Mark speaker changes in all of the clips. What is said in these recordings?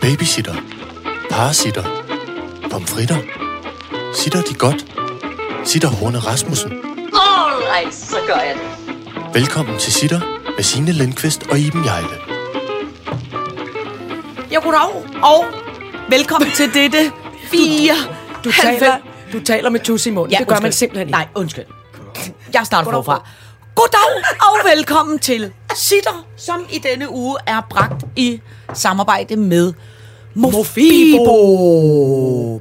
Speaker 1: Babysitter. Parasitter. Pomfritter. Sitter de godt? Sitter Horne Rasmussen.
Speaker 2: Alright, så gør jeg det.
Speaker 1: Velkommen til Sitter med Signe Lindqvist og Iben Jejle.
Speaker 3: Jeg goddag, og velkommen til dette 4.
Speaker 4: Du taler, du taler med tus i munden. Ja, det gør man simpelthen ikke.
Speaker 3: Nej, undskyld. Jeg starter forfra. Goddag og velkommen til Sitter, som i denne uge er bragt i samarbejde med Mofibo.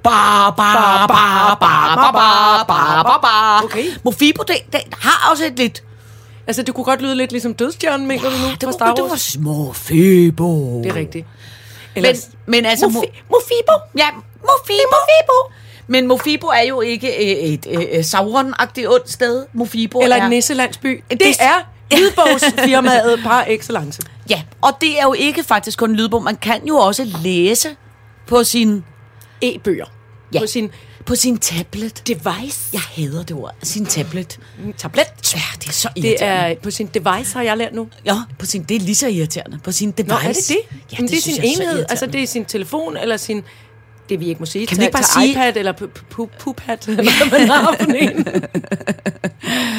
Speaker 3: Ba, ba, ba, ba, ba, ba, ba, ba, ba.
Speaker 4: Okay.
Speaker 3: Mofibo, det, det har også et lidt...
Speaker 4: Altså, det kunne godt lyde lidt ligesom dødstjernen, mener du nu,
Speaker 3: Det
Speaker 4: fra
Speaker 3: var,
Speaker 4: Star Wars?
Speaker 3: det var Mofibo.
Speaker 4: Det er rigtigt.
Speaker 3: Men,
Speaker 4: Ellers,
Speaker 3: men altså...
Speaker 4: Mofi-
Speaker 3: Mo- Mofibo. Ja, Mofibo. Mofibo. Men Mofibo er jo ikke øh, et øh, øh, Sauron-agtigt ondt sted. Mofibo
Speaker 4: eller
Speaker 3: er...
Speaker 4: en nisselandsby.
Speaker 3: Det-
Speaker 4: Det, det er hvidbogsfirmaet par excellence.
Speaker 3: Ja, og det er jo ikke faktisk kun en lydbog. Man kan jo også læse på sin,
Speaker 4: E-bøger.
Speaker 3: Ja.
Speaker 4: På sin
Speaker 3: på sin tablet.
Speaker 4: device.
Speaker 3: Jeg hader det ord. Sin tablet. Tablet? Ja, det er så irriterende.
Speaker 4: Det er på sin device, har jeg lært nu.
Speaker 3: Ja, på sin, det er lige så irriterende. På sin device.
Speaker 4: Nå, er det det?
Speaker 3: Ja,
Speaker 4: Men det, er
Speaker 3: synes
Speaker 4: sin
Speaker 3: jeg så
Speaker 4: enhed.
Speaker 3: irriterende.
Speaker 4: Altså, det er sin telefon, eller sin... Det vi ikke må sige.
Speaker 3: Kan vi
Speaker 4: til-
Speaker 3: ikke bare
Speaker 4: til
Speaker 3: sige-
Speaker 4: iPad, eller pu- pu- pu- pupat, eller hvad man har for en.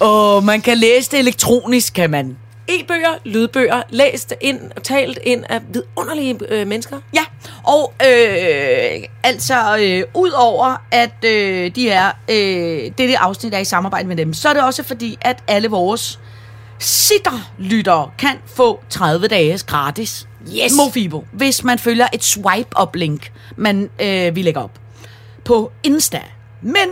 Speaker 3: Og man kan læse det elektronisk, kan man.
Speaker 4: E-bøger, lydbøger, læst ind og talt ind af vidunderlige øh, mennesker.
Speaker 3: Ja, og øh, altså øh, udover at øh, de er øh, det, det afsnit er i samarbejde med dem, så er det også fordi, at alle vores sitterlyttere kan få 30 dages gratis
Speaker 4: Yes.
Speaker 3: Mofibo, hvis man følger et swipe-up-link, man øh, vi lægger op på Insta. Men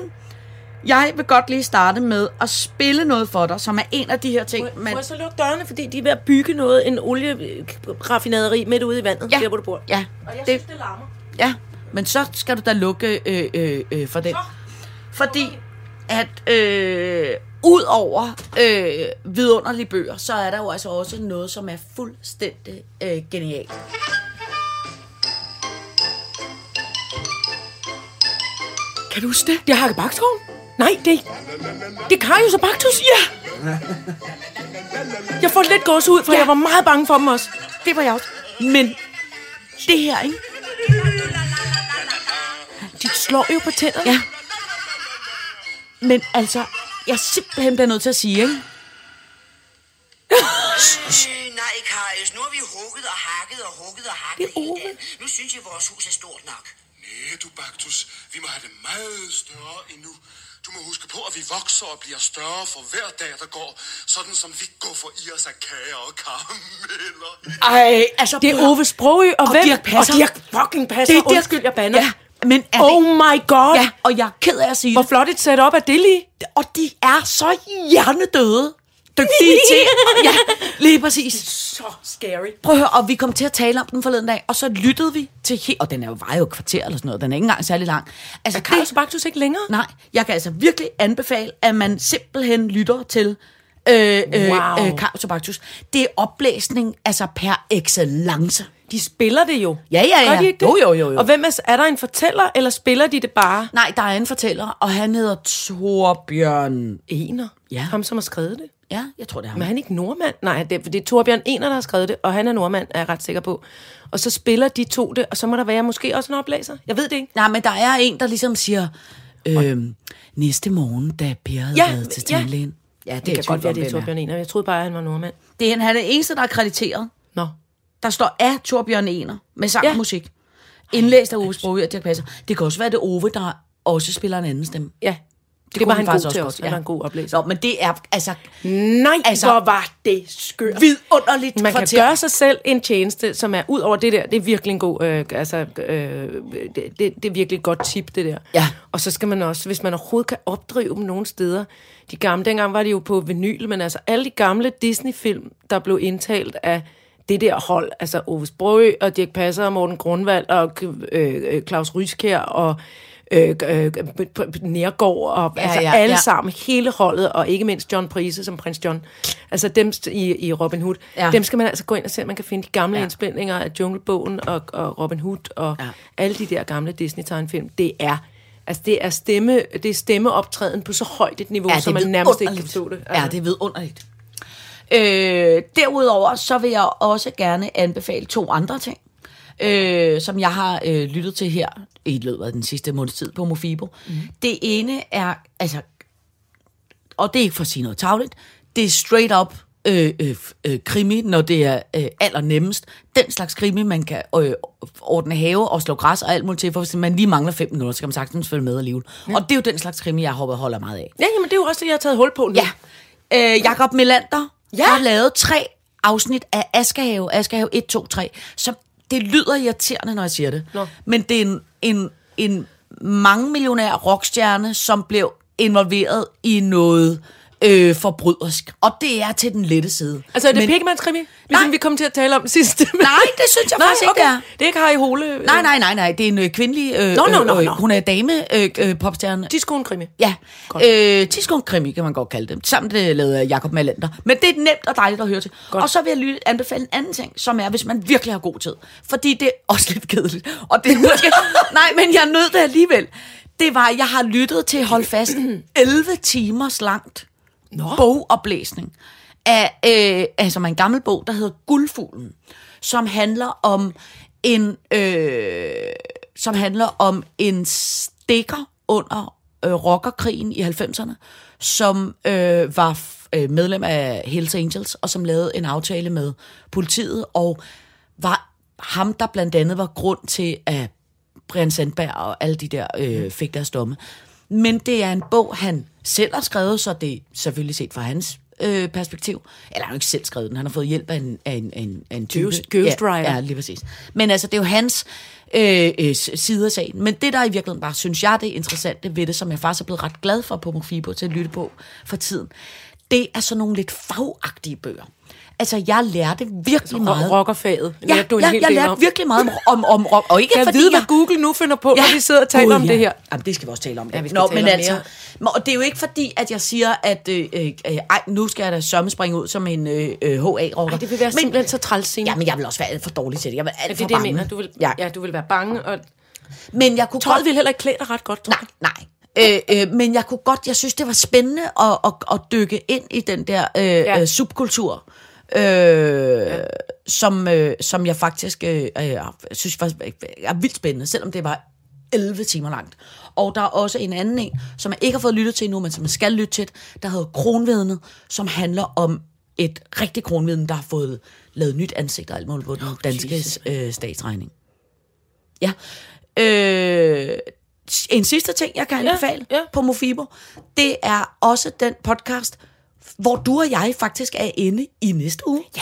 Speaker 3: jeg vil godt lige starte med at spille noget for dig, som er en af de her ting,
Speaker 4: Må,
Speaker 3: man
Speaker 4: må jeg så lukke dørene, fordi de er ved at bygge noget, en olieraffinaderi midt ude i vandet,
Speaker 3: Ja.
Speaker 4: der hvor du bor.
Speaker 3: Ja,
Speaker 4: Og jeg
Speaker 3: det-
Speaker 4: synes, det larmer.
Speaker 3: Ja, men så skal du da lukke øh, øh, øh, for den. Fordi at øh, ud over øh, vidunderlige bøger, så er der jo altså også noget, som er fuldstændig øh, genialt.
Speaker 4: Kan du huske det? Det er Hakke Bakskoven. Nej, det, det er Karius og Baktus. Ja! Jeg får lidt gås ud, for ja. jeg var meget bange for dem også.
Speaker 3: Det var jeg også. Men det her, ikke?
Speaker 4: De slår jo på tænderne.
Speaker 3: Ja. Men altså, jeg simpelthen bliver nødt til at sige, ikke?
Speaker 5: Øh, nej, Karius. Nu har vi hugget og hakket og hugget og hakket
Speaker 4: Det er
Speaker 5: hele
Speaker 4: Ove.
Speaker 5: dagen. Nu synes jeg, vores hus er stort nok.
Speaker 6: Næh, du Baktus, vi må have det meget større endnu. Du må huske på, at vi vokser og bliver større for hver dag, der går. Sådan som vi går for i os af kager og karameller.
Speaker 3: Ej, altså...
Speaker 4: Det er Ove Sprogø og,
Speaker 3: Og
Speaker 4: hvem?
Speaker 3: Dirch Passer.
Speaker 4: Og Dirk fucking Passer.
Speaker 3: Det er Dirch-
Speaker 4: Undskyld, jeg bander.
Speaker 3: Ja, men er
Speaker 4: oh
Speaker 3: det...
Speaker 4: my god.
Speaker 3: Ja, og jeg er ked af at sige
Speaker 4: Hvor
Speaker 3: det.
Speaker 4: flot et setup er det lige.
Speaker 3: Og de er så hjernedøde dygtige til. Ja, lige præcis.
Speaker 4: Så scary.
Speaker 3: Prøv at høre, og vi kom til at tale om den forleden dag, og så lyttede vi til helt... Og den er jo var jo et kvarter eller sådan noget, den er ikke engang særlig lang. Altså,
Speaker 4: Er Karius og Baktus ikke længere?
Speaker 3: Nej, jeg kan altså virkelig anbefale, at man simpelthen lytter til øh, øh,
Speaker 4: Wow.
Speaker 3: øh, Carl Tobactus. Det er oplæsning, altså per excellence.
Speaker 4: De spiller det jo.
Speaker 3: Ja, ja, ja.
Speaker 4: Gør de ikke det?
Speaker 3: Jo, jo, jo, jo.
Speaker 4: Og hvem er, er der en fortæller, eller spiller de det bare?
Speaker 3: Nej, der er en fortæller, og han hedder Torbjørn...
Speaker 4: Ener.
Speaker 3: Ja.
Speaker 4: Ham, som har skrevet det.
Speaker 3: Ja, jeg tror, det er ham.
Speaker 4: Men er han ikke nordmand? Nej, det, er- det er Torbjørn Ener, der har skrevet det, og han er nordmand, er jeg ret sikker på. Og så spiller de to det, og så må der være måske også en oplæser. Jeg ved det ikke.
Speaker 3: Nej, men der er en, der ligesom siger, øhm, næste morgen, da Per havde
Speaker 4: Ja,
Speaker 3: været til
Speaker 4: ja.
Speaker 3: tandlægen. Ja, det,
Speaker 4: Det kan godt være, det er
Speaker 3: Torbjørn.
Speaker 4: Torbjørn Ener. Jeg troede bare, han var nordmand.
Speaker 3: Det er, han- han er den eneste, der er krediteret.
Speaker 4: Nå.
Speaker 3: Der står af Torbjørn Ener med sang
Speaker 4: Ja.
Speaker 3: og musik. Indlæst af Ove Sprogø og Dirk Passer. Det kan også være, det er Ove, der også spiller en anden stemme.
Speaker 4: Ja. Det,
Speaker 3: kunne
Speaker 4: det var
Speaker 3: han
Speaker 4: han
Speaker 3: faktisk
Speaker 4: god til
Speaker 3: også
Speaker 4: også.
Speaker 3: godt,
Speaker 4: Han
Speaker 3: ja.
Speaker 4: var en god oplæser.
Speaker 3: Nå, men det er altså
Speaker 4: Nej,
Speaker 3: Altså,
Speaker 4: hvor var det skørt.
Speaker 3: vidunderligt
Speaker 4: Man kan
Speaker 3: kvarter.
Speaker 4: gøre sig selv en tjeneste, som er ud over det der. Det er virkelig en god, øh, altså, øh, det, det, det er virkelig et godt tip, det der.
Speaker 3: Ja.
Speaker 4: Og så skal man også, hvis man overhovedet kan opdrive dem nogle steder. De gamle, dengang var de jo på vinyl, men altså alle de gamle Disney-film, der blev indtalt af det der hold, altså Ove Sprogø og Dirk Passer og Morten Grundvald og øh, øh, Claus Ryskjær og øh, øh, Nergård og
Speaker 3: Ja,
Speaker 4: altså
Speaker 3: ja,
Speaker 4: alle
Speaker 3: ja.
Speaker 4: sammen, hele holdet, og ikke mindst John Price som prins John. Altså dem st- i, i Robin Hood.
Speaker 3: Ja.
Speaker 4: Ja. Dem skal man altså gå ind og se, om man kan finde de gamle
Speaker 3: Ja.
Speaker 4: ja. indspilninger af Junglebogen og, og Robin Hood og
Speaker 3: Ja.
Speaker 4: ja. alle de der gamle Disney-tegnfilm. Det er Altså, det er, stemme, det er stemmeoptræden på så højt et niveau, ja, så man nærmest ikke kan forstå det. Altså.
Speaker 3: Ja, det er vidunderligt. Øh, derudover, så vil jeg også gerne anbefale to andre ting. øh, som jeg har øh, lyttet til her i løbet af den sidste måneds tid på Mofibo. Mm.
Speaker 4: Mhm.
Speaker 3: Det ene er, altså, og det er ikke for at sige noget tavligt, det er straight up øh, øh, f- øh, krimi, når det er øh, allernemmest. Den slags krimi, man kan øh, ordne have og slå græs og alt muligt til, for hvis man lige mangler fem minutter, så kan man sagtens følge med alligevel. Ja. Og det er jo den slags krimi, jeg hopper- holder meget af.
Speaker 4: Ja, jamen det er jo også det, jeg har taget hul på nu.
Speaker 3: Ja. Øh, Jakob Melander ja.
Speaker 4: Ja.
Speaker 3: har lavet tre afsnit af Askehave, Askehave 1, 2, 3, som det lyder irriterende, når jeg siger det.
Speaker 4: Nå.
Speaker 3: Men det er en, en, en mange millionær rockstjerne, som blev involveret i noget øh, forbrydersk. Og det er til den lette side.
Speaker 4: Altså, er det
Speaker 3: Men-
Speaker 4: pigmandskrimi? Ligesom
Speaker 3: Nej.
Speaker 4: vi kom til at tale om sidst.
Speaker 3: Nej, det synes jeg faktisk ikke, det er.
Speaker 4: Det er ikke Harry Hole. øh,
Speaker 3: Nej, nej, nej, nej. Det er en øh, kvindelig... Øh,
Speaker 4: Nå, nå, nå,
Speaker 3: øh,
Speaker 4: nå.
Speaker 3: Hun er dame, øh, øh, popstjerne.
Speaker 4: De skulle en krimi.
Speaker 3: Ja, øh, Tiskon Krimi kan man godt kalde dem. Samt det lavede af Jacob Malander. Men det er nemt og dejligt at høre til. Godt. Og så vil jeg lytte, anbefale en anden ting, som er, hvis man virkelig har god tid. Fordi det er også lidt kedeligt. Og det er måske... Nej, men jeg nød det alligevel. Det var, jeg har lyttet til Hold Fast 11 timers langt Nå. bogoplæsning af øh, altså en gammel bog, der hedder Guldfuglen, som handler om en øh, som handler om en stikker under øh, rockerkrigen i 90'erne, som øh, var f- øh, medlem af Hells Angels, og som lavede en aftale med politiet, og var ham, der blandt andet var grund til, at Brian Sandberg og alle de der øh, fik deres domme. Men det er en bog, han selv har skrevet, så det er selvfølgelig set fra hans øh, perspektiv. Eller han har jo ikke selv skrevet den, han har fået hjælp af en, af en, af en, af en type.
Speaker 4: Ghost- ghostwriter.
Speaker 3: Ja, ja, lige præcis. Men altså, det er jo hans øh, øh, s- side af sagen. Men det, der i virkeligheden bare, synes jeg, det interessante ved det, som jeg faktisk er blevet ret glad for på Mofibo til at lytte på for tiden, det er sådan nogle lidt fagagtige bøger. Altså, jeg lærte virkelig meget.
Speaker 4: Rockerfaget.
Speaker 3: Ja,
Speaker 4: Lærte Altså, du en
Speaker 3: ja
Speaker 4: hel
Speaker 3: jeg
Speaker 4: del
Speaker 3: lærte
Speaker 4: om.
Speaker 3: virkelig meget om, om, om, om og ikke
Speaker 4: Kan jeg
Speaker 3: fordi
Speaker 4: vide, hvad
Speaker 3: jeg...
Speaker 4: Google nu finder på, når vi sidder og taler
Speaker 3: Gud,
Speaker 4: om det her?
Speaker 3: Jamen, det skal vi også tale om. altså,
Speaker 4: Ja, vi skal tale om mere.
Speaker 3: Nå, og det er jo ikke fordi, at jeg siger, at øh, øh, øh, ej, nu skal jeg da sørme springe ud som en øh, øh, HA-rocker.
Speaker 4: Ej, det vil være
Speaker 3: men,
Speaker 4: simpelthen så træls scene.
Speaker 3: Ja, men jeg vil også være alt for dårlig til det. Jeg vil alt
Speaker 4: Er
Speaker 3: for
Speaker 4: det det, jeg
Speaker 3: bange.
Speaker 4: mener? Du vil,
Speaker 3: ja.
Speaker 4: ja. ja, du vil være bange. Og
Speaker 3: Men jeg kunne
Speaker 4: tøjet
Speaker 3: godt...
Speaker 4: vil heller ikke klæde dig ret godt, tror
Speaker 3: Nej, nej. Øh, øh, men jeg kunne godt, jeg synes, det var spændende at, at, at dykke ind i den der øh, ja.
Speaker 4: Ja.
Speaker 3: øh, subkultur, øh, ja. som, øh, som jeg faktisk øh, øh, synes var, er vildt spændende, selvom det var 11 timer langt. Og der er også en anden en, som jeg ikke har fået lyttet til endnu, men som jeg skal lytte til, der hedder Kronvidnet, som handler om et rigtigt kronvidne, der har fået lavet nyt ansigt og alt muligt på den danske
Speaker 4: Jesus.
Speaker 3: øh, statsregning. Ja. Øh, en sidste ting, jeg kan anbefale ja,
Speaker 4: ja.
Speaker 3: ja. på Mofibo, det er også den podcast, hvor du og jeg faktisk er inde i næste uge.
Speaker 4: Ja,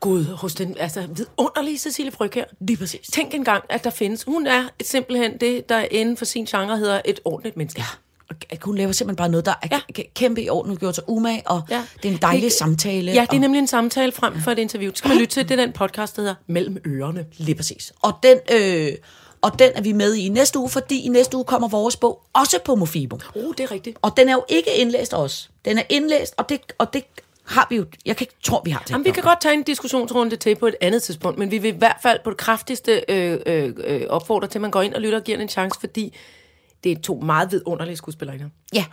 Speaker 4: gud, hos den altså, vidunderlige Cecilie Fryg her.
Speaker 3: Lige præcis.
Speaker 4: Tænk engang, at der findes. Hun er et, simpelthen det, der inden for sin genre hedder et ordentligt menneske. Ja.
Speaker 3: Og at hun laver simpelthen bare noget, der er ja. kæmpe i orden, hun gjort sig umage, og ja. det er en dejlig det, samtale.
Speaker 4: Ja, det er
Speaker 3: og,
Speaker 4: nemlig en samtale frem for et interview. Det skal man lytte til. Det er den podcast, der hedder Mellem Ørerne.
Speaker 3: lige præcis. Og den, øh, og den er vi med i næste uge, fordi i næste uge kommer vores bog også på Mofibo.
Speaker 4: Uh, det er rigtigt.
Speaker 3: Og den er jo ikke indlæst af os. Den er indlæst, og det, og det har vi jo... Jeg kan ikke tro, vi har det.
Speaker 4: Jamen, vi kan godt tage en diskussionsrunde til på et andet tidspunkt, men vi vil i hvert fald på det kraftigste øh, øh, øh, opfordre til, at man går ind og lytter og giver den en chance, fordi det er to meget vidunderlige skuespillere.
Speaker 3: Ja,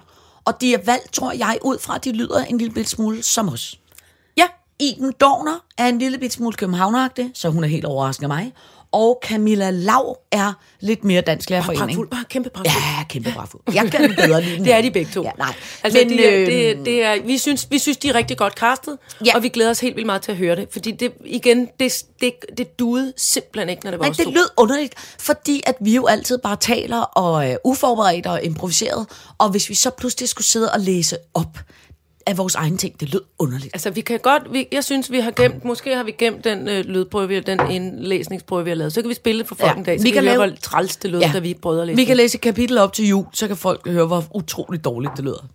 Speaker 3: og de er valgt, tror jeg, ud fra, at de lyder en lille bit smule som os.
Speaker 4: Ja,
Speaker 3: Iben Dovner er en lille bit smule københavneragtig, så hun er helt overraskende mig. Og Camilla Lav er lidt mere dansk lærerforening.
Speaker 4: pragtfuld. Bare kæmpe pragtfuld.
Speaker 3: Ja, kæmpe bravo. Jeg kan bedre lide dem.
Speaker 4: Det er de begge to.
Speaker 3: Ja, nej.
Speaker 4: Altså, Men, de, er,
Speaker 3: øhm,
Speaker 4: det, er- det er, vi, synes, vi synes, de er rigtig godt castet,
Speaker 3: Ja.
Speaker 4: ja. og vi glæder os helt vildt meget til at høre det. Fordi det, igen, det, det, det duede simpelthen ikke, når det var
Speaker 3: Men
Speaker 4: os
Speaker 3: det
Speaker 4: to.
Speaker 3: lød underligt, fordi at vi jo altid bare taler og er uforberedt og improviseret, og hvis vi så pludselig skulle sidde og læse op af vores egne ting, det lød underligt.
Speaker 4: Altså, vi kan godt... Vi, jeg synes, vi har gemt... Måske har vi gemt den øh, lydprøve, vi- den indlæsningsprøve, vi har lavet. Så kan vi spille det for folk
Speaker 3: Ja.
Speaker 4: en dag, så
Speaker 3: Vi
Speaker 4: vi
Speaker 3: kan
Speaker 4: kan høre,
Speaker 3: lave-
Speaker 4: hvor træls det lød, ja. da vi prøvede at læse
Speaker 3: Vi
Speaker 4: det.
Speaker 3: kan læse et kapitel op til jul, så kan folk høre, hvor utroligt dårligt det lyder.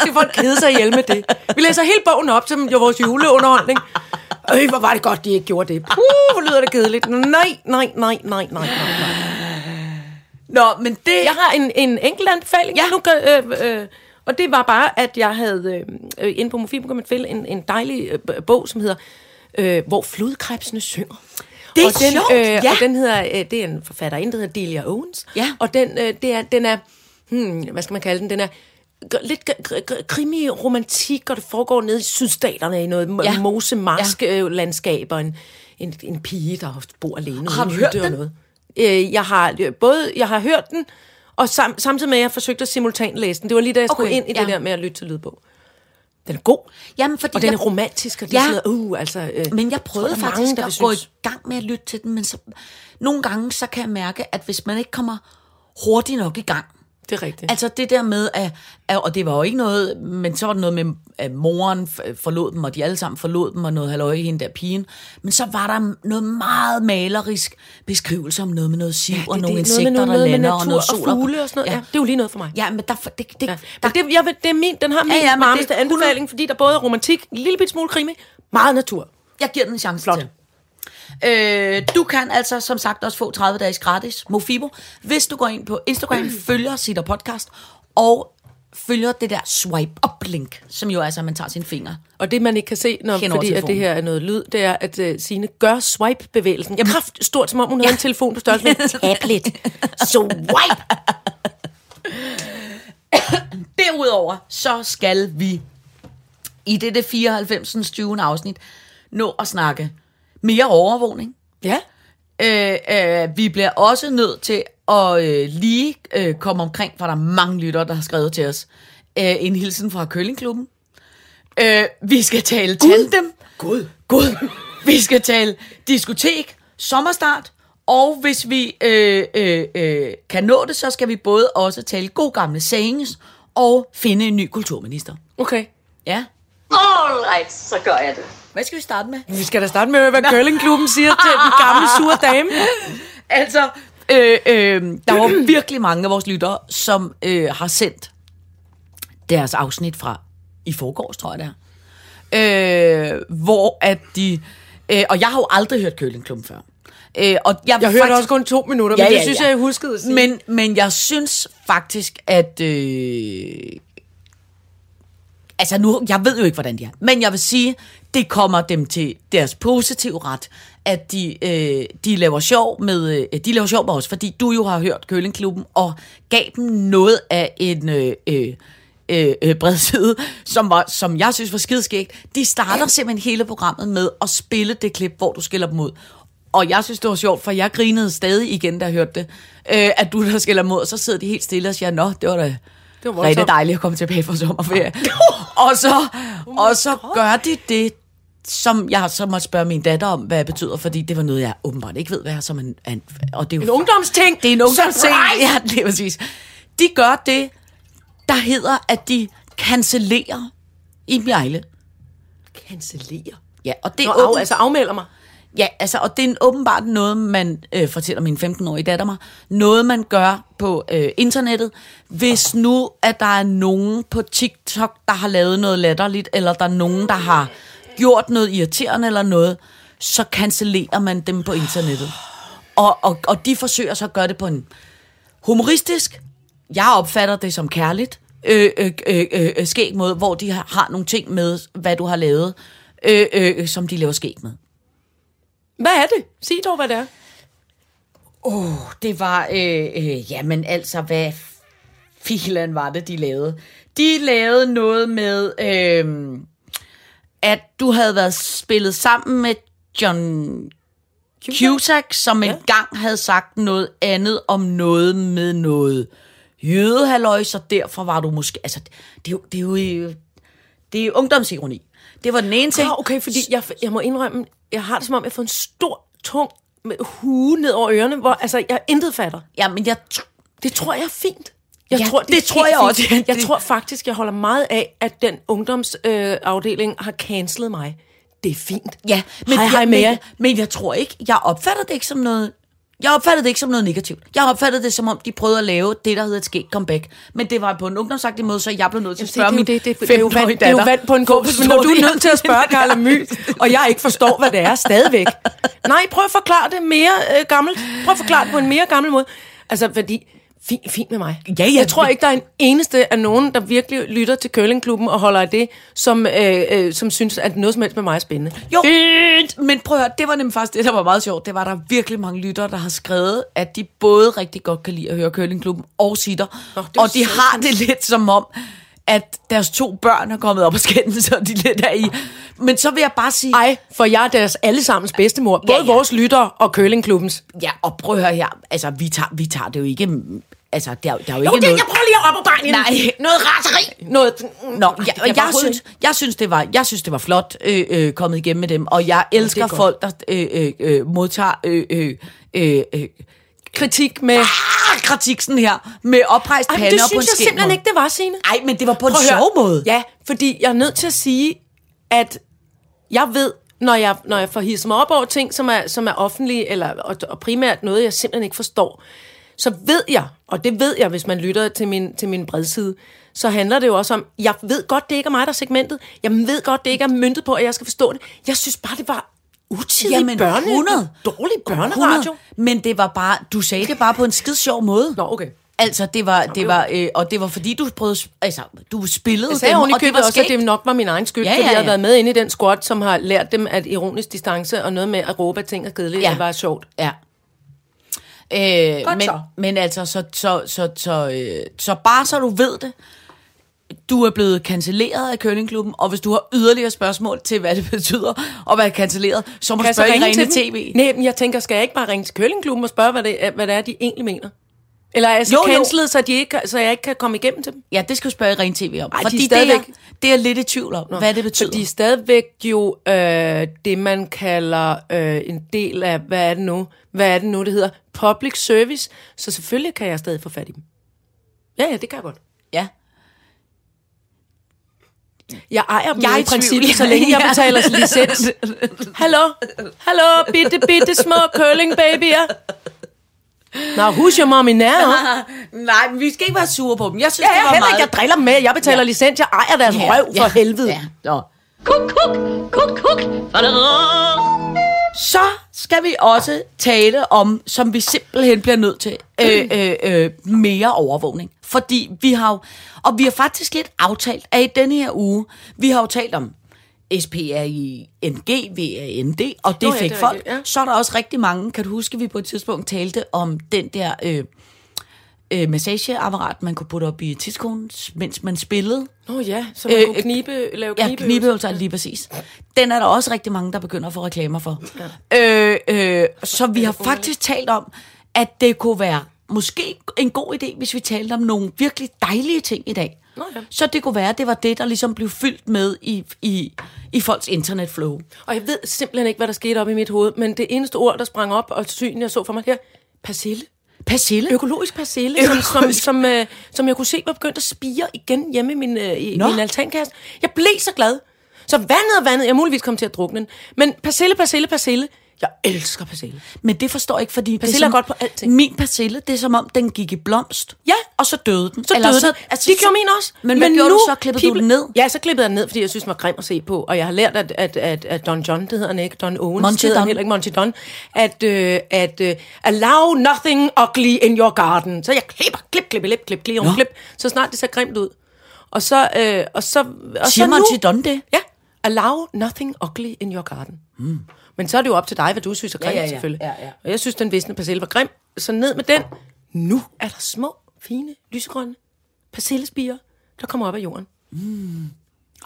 Speaker 4: skal folk kede sig ihjel med det. Vi læser hele bogen op til jo vores juleunderholdning. Øj, hvor var det godt, de ikke gjorde det. Puh, hvor lyder det kedeligt. Nej, nej, nej, nej, nej, nej. nej.
Speaker 3: Nå, men det...
Speaker 4: Jeg har en, en enkelt anbefaling.
Speaker 3: Ja.
Speaker 4: Nu kan, øh, øh, og det var bare, at jeg havde øh, øh, inde på Mofibo kan man finde en, en dejlig øh, b- bog, som hedder øh, Hvor flodkrebsene synger.
Speaker 3: Det er
Speaker 4: og den,
Speaker 3: sjovt,
Speaker 4: øh,
Speaker 3: ja.
Speaker 4: Og den hedder, øh, det er en forfatterinde, der hedder Delia Owens.
Speaker 3: Ja.
Speaker 4: Og den, øh, det er, den er, hmm, hvad skal man kalde den? Den er gr- lidt gr- gr- gr- krimi-romantik, og det foregår nede i sydstaterne i noget ja.
Speaker 3: Ja.
Speaker 4: mosemarsk-landskab, og en, en, en pige, der bor alene
Speaker 3: Har
Speaker 4: ude i
Speaker 3: du
Speaker 4: en
Speaker 3: hørt
Speaker 4: hytte og
Speaker 3: den?
Speaker 4: noget. Øh, jeg har øh, både jeg har hørt den, og sam, samtidig med, at jeg forsøgte at simultanlæse den. Det var lige da jeg skulle
Speaker 3: Okay,
Speaker 4: ind i det
Speaker 3: ja.
Speaker 4: der med at lytte til lydbog. Den er god,
Speaker 3: Jamen, fordi
Speaker 4: og den er
Speaker 3: jeg-
Speaker 4: romantisk, og det
Speaker 3: Ja.
Speaker 4: er sådan noget, uh, altså... Øh,
Speaker 3: Men jeg
Speaker 4: tror,
Speaker 3: prøvede
Speaker 4: der er
Speaker 3: faktisk
Speaker 4: mange,
Speaker 3: mange,
Speaker 4: der
Speaker 3: at
Speaker 4: vil
Speaker 3: gå
Speaker 4: synes.
Speaker 3: i gang med at lytte til den, men så, nogle gange så kan jeg mærke, at hvis man ikke kommer hurtigt nok i gang,
Speaker 4: Det er rigtigt.
Speaker 3: altså det der med, at, at, og det var jo ikke noget, men så var det noget med, at moren f- forlod dem, og de alle sammen forlod dem, og noget halløj i hende der pigen, men så var der noget meget malerisk beskrivelse om noget med noget siv, ja, og
Speaker 4: det,
Speaker 3: nogle
Speaker 4: det, er noget
Speaker 3: insekter,
Speaker 4: med noget,
Speaker 3: der
Speaker 4: noget med
Speaker 3: lander,
Speaker 4: natur
Speaker 3: og noget sol.
Speaker 4: og fugle og sådan noget. Ja.
Speaker 3: Ja,
Speaker 4: ja. det er jo lige noget for mig.
Speaker 3: ja men der, det, det,
Speaker 4: Ja.
Speaker 3: der,
Speaker 4: Men det, jeg, vil- det er min, den har min ja,
Speaker 3: ja,
Speaker 4: ja,
Speaker 3: men
Speaker 4: varmeste
Speaker 3: det-
Speaker 4: anbefaling, fordi der både er romantik, en lille bit smule krimi, meget natur.
Speaker 3: Jeg giver den en chance
Speaker 4: Flot.
Speaker 3: Flot. til. Øh, du kan altså som sagt også få 30 dages gratis Mofibo, hvis du går ind på Instagram, følger sit podcast og følger det der swipe up link, som jo er, altså, at man tager sine fingre.
Speaker 4: Og det, man ikke kan se, når,
Speaker 3: Hen over
Speaker 4: fordi at det
Speaker 3: telefonen.
Speaker 4: her er noget lyd, det er, at uh, Signe gør swipe-bevægelsen. Jamen. Kraft stort, som om hun ja. havde en telefon på størrelse med en tablet. Swipe!
Speaker 3: Derudover så skal vi i dette 94. 20. afsnit nå at snakke mere overvågning.
Speaker 4: Ja.
Speaker 3: Øh, øh, vi bliver også nødt til at øh, lige øh, komme omkring, for der er mange lyttere, der har skrevet til os. Øh, en hilsen fra Køllingklubben. Øh, vi skal tale tandem. Gud. Gud. Vi skal tale diskotek, sommerstart, og hvis vi øh, øh, øh, kan nå det, så skal vi både også tale god gamle sayings og finde en ny kulturminister.
Speaker 4: Okay.
Speaker 3: Ja.
Speaker 2: All right, så gør jeg det.
Speaker 3: Hvad skal vi starte med?
Speaker 4: Vi skal da starte med at høre, hvad curlingklubben siger til den gamle sure dame.
Speaker 3: Altså, øh, øh, der var virkelig mange af vores lyttere, som øh, har sendt deres afsnit fra i forgårs, tror jeg det er. Øh, hvor at de... Øh, og jeg har jo aldrig hørt Køllingklubben før. Øh, og jeg,
Speaker 4: Jeg hørte også kun to minutter, ja, men det ja, synes ja. jeg, jeg huskede at sige.
Speaker 3: Men, men jeg synes faktisk, at... Øh, altså nu, jeg ved jo ikke, hvordan de er. Men jeg vil sige, det kommer dem til deres positive ret, at de, øh, de laver sjov med øh, de laver sjov med os, fordi du jo har hørt Køllingklubben og gav dem noget af en øh, øh, øh, øh, bredside, som, var, som jeg synes var skideskægt. De starter simpelthen hele programmet med at spille det klip, hvor du skiller dem ud. Og jeg synes, det var sjovt, for jeg grinede stadig igen, da jeg hørte det, øh, at du der skiller mod, og så sidder de helt stille og siger, nå, det var da
Speaker 4: Det
Speaker 3: det
Speaker 4: var
Speaker 3: var rigtig
Speaker 4: voldsomt.
Speaker 3: dejligt at komme tilbage fra sommerferie. og så,
Speaker 4: Oh
Speaker 3: og så gør de det, som jeg så måtte spørge min datter om, hvad det betyder, fordi det var noget, jeg åbenbart ikke ved, hvad er, som en, en, og det er jo
Speaker 4: En ungdomsting!
Speaker 3: Det er en ungdomsting.
Speaker 4: Surprise!
Speaker 3: Ja, det er præcis. De gør det, der hedder, at de cancellerer i Mjejle.
Speaker 4: Kancellerer.
Speaker 3: Ja, og det
Speaker 4: Nå,
Speaker 3: er
Speaker 4: af,
Speaker 3: åben-
Speaker 4: altså afmelder mig.
Speaker 3: Ja, altså, og det er åbenbart noget, man øh, fortæller min 15-årige datter mig, noget man gør på øh, internettet, hvis nu, at der er nogen på TikTok, der har lavet noget latterligt, eller der er nogen, der har gjort noget irriterende eller noget, så cancellerer man dem på internettet. Og, og, og de forsøger så at gøre det på en humoristisk, jeg opfatter det som kærligt, øh, øh, øh, øh, skæg måde, hvor de har, har nogle ting med, hvad du har lavet, øh, øh, som de laver skæg med.
Speaker 4: Hvad er det? Sig dog, hvad det er.
Speaker 3: Det var, øh, øh, jamen altså, hvad filen var det, de lavede? De lavede noget med, øh, at du havde været spillet sammen med John Cusack, som ja. engang havde sagt noget andet om noget med noget jødehalløj, så derfor var du måske... Altså, det, er jo- det er jo... øh, Det er ungdomsironi. Det var den ene ting.
Speaker 4: Ah, okay, fordi jeg, jeg må indrømme, jeg har det som om, jeg har fået en stor, tung med hue ned over ørerne, hvor altså, jeg intet fatter.
Speaker 3: Ja, men jeg... tr-
Speaker 4: Det tror jeg er fint. Jeg
Speaker 3: Ja,
Speaker 4: tror, det,
Speaker 3: det
Speaker 4: er
Speaker 3: tror
Speaker 4: helt
Speaker 3: jeg
Speaker 4: fint.
Speaker 3: også, ja,
Speaker 4: Jeg
Speaker 3: det-
Speaker 4: tror faktisk, jeg holder meget af, at den ungdomsafdeling øh, afdeling har cancelet mig. Det er fint.
Speaker 3: Ja, men,
Speaker 4: hej,
Speaker 3: jeg,
Speaker 4: hej med jer.
Speaker 3: men, men jeg tror ikke, jeg opfatter det ikke som noget... Jeg opfattede det ikke som noget negativt. Jeg opfattede det som om, de prøvede at lave det, der hedder et skægt comeback. Men det var på en ungdomsagtig måde, så jeg blev nødt til at
Speaker 4: Se, Altså, det, er
Speaker 3: spørge
Speaker 4: jo,
Speaker 3: min
Speaker 4: det, det, det, det, er jo vand, det er jo vand på en kog. Men når du er nødt til at spørge Carla My, og jeg ikke forstår, hvad det er stadigvæk. Nej, prøv at forklare det mere øh, gammelt. Prøv at forklare det på en mere gammel måde. Altså, fordi... Fint, fint med mig.
Speaker 3: Ja, ja,
Speaker 4: Jeg tror
Speaker 3: men-
Speaker 4: ikke, der er en eneste af nogen, der virkelig lytter til curlingklubben og holder af det, som, øh, øh, som synes, at noget som helst med mig er spændende.
Speaker 3: Jo, Fint. men prøv at høre, det var nemlig faktisk det, der var meget sjovt. Det var, at der er virkelig mange lyttere, der har skrevet, at de både rigtig godt kan lide at høre Curlingklubben og sitter.
Speaker 4: Nå, det er
Speaker 3: og de
Speaker 4: sødt.
Speaker 3: har det lidt som om, at deres to børn har kommet op og skændes, og de lidt er i. Men så vil jeg bare sige,
Speaker 4: Ah. Ej, for jeg er deres allesammens bedstemor. Både
Speaker 3: ja.
Speaker 4: vores lyttere og curlingklubbens.
Speaker 3: ja, og prøv at høre her, altså, vi tager, vi tager det jo ikke, altså, der, er jo- der er jo,
Speaker 4: Jo,
Speaker 3: ikke
Speaker 4: det,
Speaker 3: noget...
Speaker 4: jeg prøver lige at op og bange
Speaker 3: Nej.
Speaker 4: Noget raseri. Noget...
Speaker 3: Nå, jeg,
Speaker 4: kan
Speaker 3: jeg,
Speaker 4: bare
Speaker 3: jeg,
Speaker 4: overhovedet
Speaker 3: synes, jeg, synes, det var, jeg synes, det var flot øh, øh, kommet igennem med dem, og jeg elsker
Speaker 4: godt.
Speaker 3: folk, der øh, øh, øh, modtager øh, øh, øh, øh,
Speaker 4: kritik med...
Speaker 3: ah, kritik sådan her, med oprejst
Speaker 4: Ej,
Speaker 3: pande
Speaker 4: men det
Speaker 3: og på en
Speaker 4: synes jeg
Speaker 3: skæg
Speaker 4: simpelthen
Speaker 3: måde.
Speaker 4: ikke, det var, Signe.
Speaker 3: Ej, men det var på en
Speaker 4: Prøv at
Speaker 3: sjov
Speaker 4: høre.
Speaker 3: måde.
Speaker 4: Ja, fordi jeg er nødt til at sige, at jeg ved, når jeg, når jeg får hisset mig op over ting, som er, som er offentlige, eller, og, og primært noget, jeg simpelthen ikke forstår, så ved jeg, og det ved jeg, hvis man lytter til min, til min bredside, så handler det jo også om, jeg ved godt, det ikke er mig, der er segmentet. Jeg ved godt, det ikke er myntet på, at jeg skal forstå det. Jeg synes bare, det var utidig
Speaker 3: Jamen,
Speaker 4: børne,
Speaker 3: 100.
Speaker 4: dårlig
Speaker 3: 100.
Speaker 4: børneradio.
Speaker 3: Men det var bare, du sagde det bare på en skid sjov måde.
Speaker 4: Nå, okay.
Speaker 3: Altså, det var, det var, øh, og det var fordi, du prøvede, altså, du spillede
Speaker 4: Jeg sagde
Speaker 3: dem,
Speaker 4: oven i
Speaker 3: og det
Speaker 4: købet
Speaker 3: var
Speaker 4: også, at
Speaker 3: skægt.
Speaker 4: det nok var min egen skyld,
Speaker 3: Ja,
Speaker 4: ja,
Speaker 3: ja,
Speaker 4: fordi jeg
Speaker 3: ja.
Speaker 4: havde været med inde i den squad, som har lært dem, at ironisk distance og noget med at råbe at ting er kedeligt,
Speaker 3: Ja.
Speaker 4: ja. det var sjovt.
Speaker 3: Ja. Øh,
Speaker 4: Godt
Speaker 3: men,
Speaker 4: så.
Speaker 3: men altså, så, så, så, så, øh, så bare så du ved det, du er blevet cancelleret af Køllingklubben, og hvis du har yderligere spørgsmål til, hvad det betyder at være cancelleret, så må du
Speaker 4: jeg så
Speaker 3: spørge i
Speaker 4: ringe
Speaker 3: Rene
Speaker 4: til dem?
Speaker 3: TV.
Speaker 4: Nej, men jeg tænker, skal jeg ikke bare ringe til Køllingklubben og spørge, hvad det, er, hvad det er, de egentlig mener? Eller er jeg så
Speaker 3: Jo, jo.
Speaker 4: cancelet, så, de ikke, kan- så jeg ikke kan komme igennem til dem?
Speaker 3: Ja, det skal du spørge i Rene TV om.
Speaker 4: Ej, de er
Speaker 3: fordi det, er,
Speaker 4: stadigvæk-
Speaker 3: det er jeg lidt i tvivl om, Nå, hvad det betyder.
Speaker 4: Så de er stadigvæk jo øh, det, man kalder øh, en del af, hvad er det nu? Hvad er det nu, det hedder? Public service. Så selvfølgelig kan jeg stadig få fat i dem. Ja, ja, det kan jeg godt.
Speaker 3: Ja.
Speaker 4: Jeg ejer dem
Speaker 3: Jeg
Speaker 4: jeg
Speaker 3: er i
Speaker 4: i princippet,
Speaker 3: tvivl.
Speaker 4: så længe
Speaker 3: Ja.
Speaker 4: jeg betaler licens. Hallo? Hallo, bitte, bitte små curling babyer. Now, who's your mommy now?
Speaker 3: Nej, men vi skal ikke være sure på dem. Jeg synes,
Speaker 4: Ja,
Speaker 3: det
Speaker 4: jeg
Speaker 3: var
Speaker 4: heller
Speaker 3: meget...
Speaker 4: ikke, jeg driller dem med. Jeg betaler
Speaker 3: Ja.
Speaker 4: ja. licens. Jeg ejer deres ja. røv for ja. helvede. Ja.
Speaker 3: Nå.
Speaker 2: Kuk, kuk, kuk, kuk.
Speaker 3: Så skal vi også tale om, som vi simpelthen bliver nødt til, øh, øh, øh, mere overvågning. Fordi vi har jo, og vi har faktisk lidt aftalt, at i denne her uge, vi har jo talt om SPRING, VAND, og det
Speaker 4: Nå
Speaker 3: Nå,
Speaker 4: ja,
Speaker 3: fik
Speaker 4: det er
Speaker 3: folk.
Speaker 4: rigtigt, ja.
Speaker 3: Så er der også rigtig mange, kan du huske, vi på et tidspunkt talte om den der øh, øh, massageapparat, man kunne putte op i tidskonen, mens man spillede.
Speaker 4: Nå ja, så man øh,
Speaker 3: øh,
Speaker 4: kunne knibe, lave
Speaker 3: Ja,
Speaker 4: knibe.
Speaker 3: knibeøvelser, lige præcis. Den er der også rigtig mange, der begynder at få reklamer for. Ja. Øh, øh, så vi har faktisk talt om, at det kunne være måske en god idé, hvis vi talte om nogle virkelig dejlige ting i dag.
Speaker 4: Nå ja.
Speaker 3: Så det kunne være, at det var det, der ligesom blev fyldt med i, i, i folks internetflow.
Speaker 4: Og jeg ved simpelthen ikke, hvad der skete op i mit hoved, men det eneste ord, der sprang op, og syn, jeg så for mig her, persille.
Speaker 3: Persille.
Speaker 4: Økologisk persille, økologisk. som, som, som, øh, som jeg kunne se var begyndt at spire igen hjemme i min, øh, i,
Speaker 3: Nå.
Speaker 4: min altankasse. Jeg blev så glad. Så vandet og vandet, jeg er muligvis kom til at drukne den. Men persille, persille, persille. Jeg elsker persille.
Speaker 3: Men det forstår jeg ikke, fordi...
Speaker 4: Persille
Speaker 3: det
Speaker 4: er godt på alting.
Speaker 3: Min persille, det er som om, den gik i blomst.
Speaker 4: Ja.
Speaker 3: Og så døde den.
Speaker 4: Så
Speaker 3: Eller
Speaker 4: døde den. Altså, det gjorde min også.
Speaker 3: Men, hvad gjorde
Speaker 4: nu,
Speaker 3: du så? Klippede du
Speaker 4: people-
Speaker 3: den ned?
Speaker 4: Ja, så klippede jeg den ned, fordi jeg synes, den var grim at se på. Og jeg har lært, at, at, at, at Don John, det hedder han ikke, Don Owens,
Speaker 3: Monty
Speaker 4: det hedder
Speaker 3: Don.
Speaker 4: han heller ikke Monty Don, at, øh, at øh, allow nothing ugly in your garden. Så jeg klipper, klip, klip, klip, klip, klip, klip, så snart det ser grimt ud. Og så, øh, og så, og
Speaker 3: Siger
Speaker 4: så nu,
Speaker 3: Monty Don det?
Speaker 4: Ja, allow nothing ugly in your garden. Mm. Men så er det jo op til dig, hvad du synes er grimt,
Speaker 3: Hmm. ja, ja.
Speaker 4: selvfølgelig.
Speaker 3: Ja, ja.
Speaker 4: Og jeg synes, den visne persille var grim. Så ned med den. Nu er der små, fine, lysegrønne persillespiger, der kommer op af jorden.
Speaker 3: Hmm.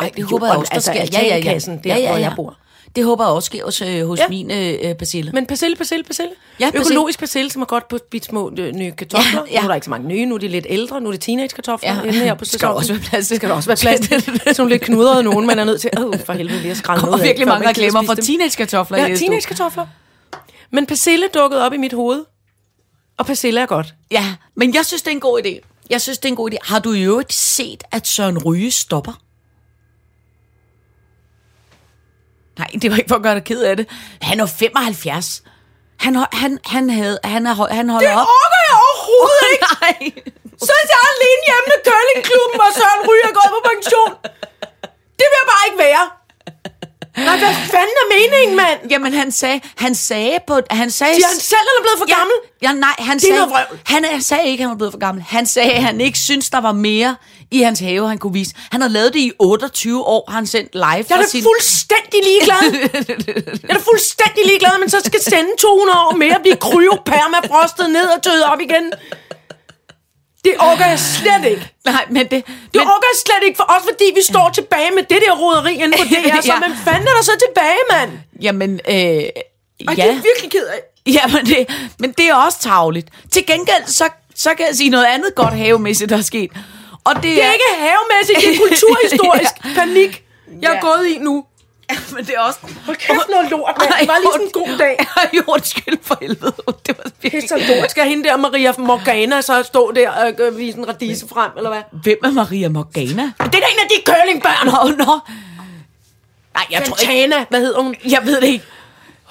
Speaker 3: Ej, det håber jeg
Speaker 4: jorden,
Speaker 3: også, der
Speaker 4: altså
Speaker 3: sker.
Speaker 4: altankassen, der, hvor jeg bor.
Speaker 3: Det håber jeg også sker hos, øh, hos ja.
Speaker 4: Ja.
Speaker 3: min øh, persille.
Speaker 4: Men persille, persille, persille.
Speaker 3: Ja, persille.
Speaker 4: Økologisk persille, som er godt på de små øh, nye kartofler.
Speaker 3: Ja, ja.
Speaker 4: Nu er der ikke så mange nye, nu er de lidt ældre, nu er det teenage-kartofler.
Speaker 3: Ja.
Speaker 4: Ja. Her på
Speaker 3: Skal der
Speaker 4: sæsonen.
Speaker 3: også være plads til?
Speaker 4: Skal der også være plads til. Sådan nogle lidt knudrede nogen, man er nødt til, åh, for helvede, lige at skrælle
Speaker 3: Der
Speaker 4: noget
Speaker 3: kommer
Speaker 4: af,
Speaker 3: virkelig
Speaker 4: før
Speaker 3: mange
Speaker 4: man gider
Speaker 3: reklamer
Speaker 4: spise
Speaker 3: for
Speaker 4: dem.
Speaker 3: teenage-kartofler. i
Speaker 4: Ja,
Speaker 3: næste uge.
Speaker 4: teenage-kartofler. Men persille dukkede op i mit hoved. Og persille er godt.
Speaker 3: Ja, men jeg synes, det er en god idé. Jeg synes, det er en god idé. Har du i øvrigt set, at Søren Ryge stopper? Nej, det var ikke for at gøre dig ked af det. Han er 75. Han, ho- han, han, havde, han, er, ho- han holder op.
Speaker 4: orker jeg overhovedet
Speaker 3: Nej.
Speaker 4: Så er jeg alene hjemme med curlingklubben, og Søren Ryger er gået på pension. Det vil jeg bare ikke være. Nej, hvad fanden er meningen, mand?
Speaker 3: Jamen, han sagde, han sagde på... Han sagde,
Speaker 4: Siger han selv, han er blevet for gammel?
Speaker 3: Ja, nej, han
Speaker 4: er
Speaker 3: sagde,
Speaker 4: noget vrøvl.
Speaker 3: han, han sagde ikke, at han var blevet for gammel. Han sagde, at han ikke synes der var mere i hans have, han kunne vise. Han har lavet det i 28 år, har han sendt live
Speaker 4: Jeg er da fuldstændig ligeglad. Jeg er da fuldstændig ligeglad, men så skal sende 200 år mere og blive kryopermafrostet ned og døde op igen. Det orker jeg slet ikke.
Speaker 3: Nej, men det...
Speaker 4: Det
Speaker 3: men,
Speaker 4: orker jeg slet ikke, for også fordi vi står tilbage med det der roderi inde på DR, så
Speaker 3: Ja.
Speaker 4: hvem fanden er der så tilbage, mand?
Speaker 3: jamen, øh,
Speaker 4: Ej,
Speaker 3: ja.
Speaker 4: det er virkelig ked af.
Speaker 3: Ja, men det, men det er også tavligt. Til gengæld, så, så kan jeg sige noget andet godt havemæssigt, der er sket. Og det,
Speaker 4: Det er ikke havemæssigt, det er kulturhistorisk
Speaker 3: Ja.
Speaker 4: panik, jeg er
Speaker 3: Ja.
Speaker 4: gået i nu.
Speaker 3: Men det er også...
Speaker 4: Hold kæft noget lort, mand. Det var lige sådan en god dag.
Speaker 3: Ej, undskyld for helvede. Det var
Speaker 4: Pisse og
Speaker 3: virkelig...
Speaker 4: lort. Skal hende der Maria Morgana så stå der og øh, vise en radise frem, eller hvad?
Speaker 3: Hvem er Maria Morgana?
Speaker 4: Det er da en af de curlingbørn.
Speaker 3: Nå, nå. Nej, jeg tror ikke...
Speaker 4: Santana, hvad hedder hun?
Speaker 3: Jeg ved det ikke.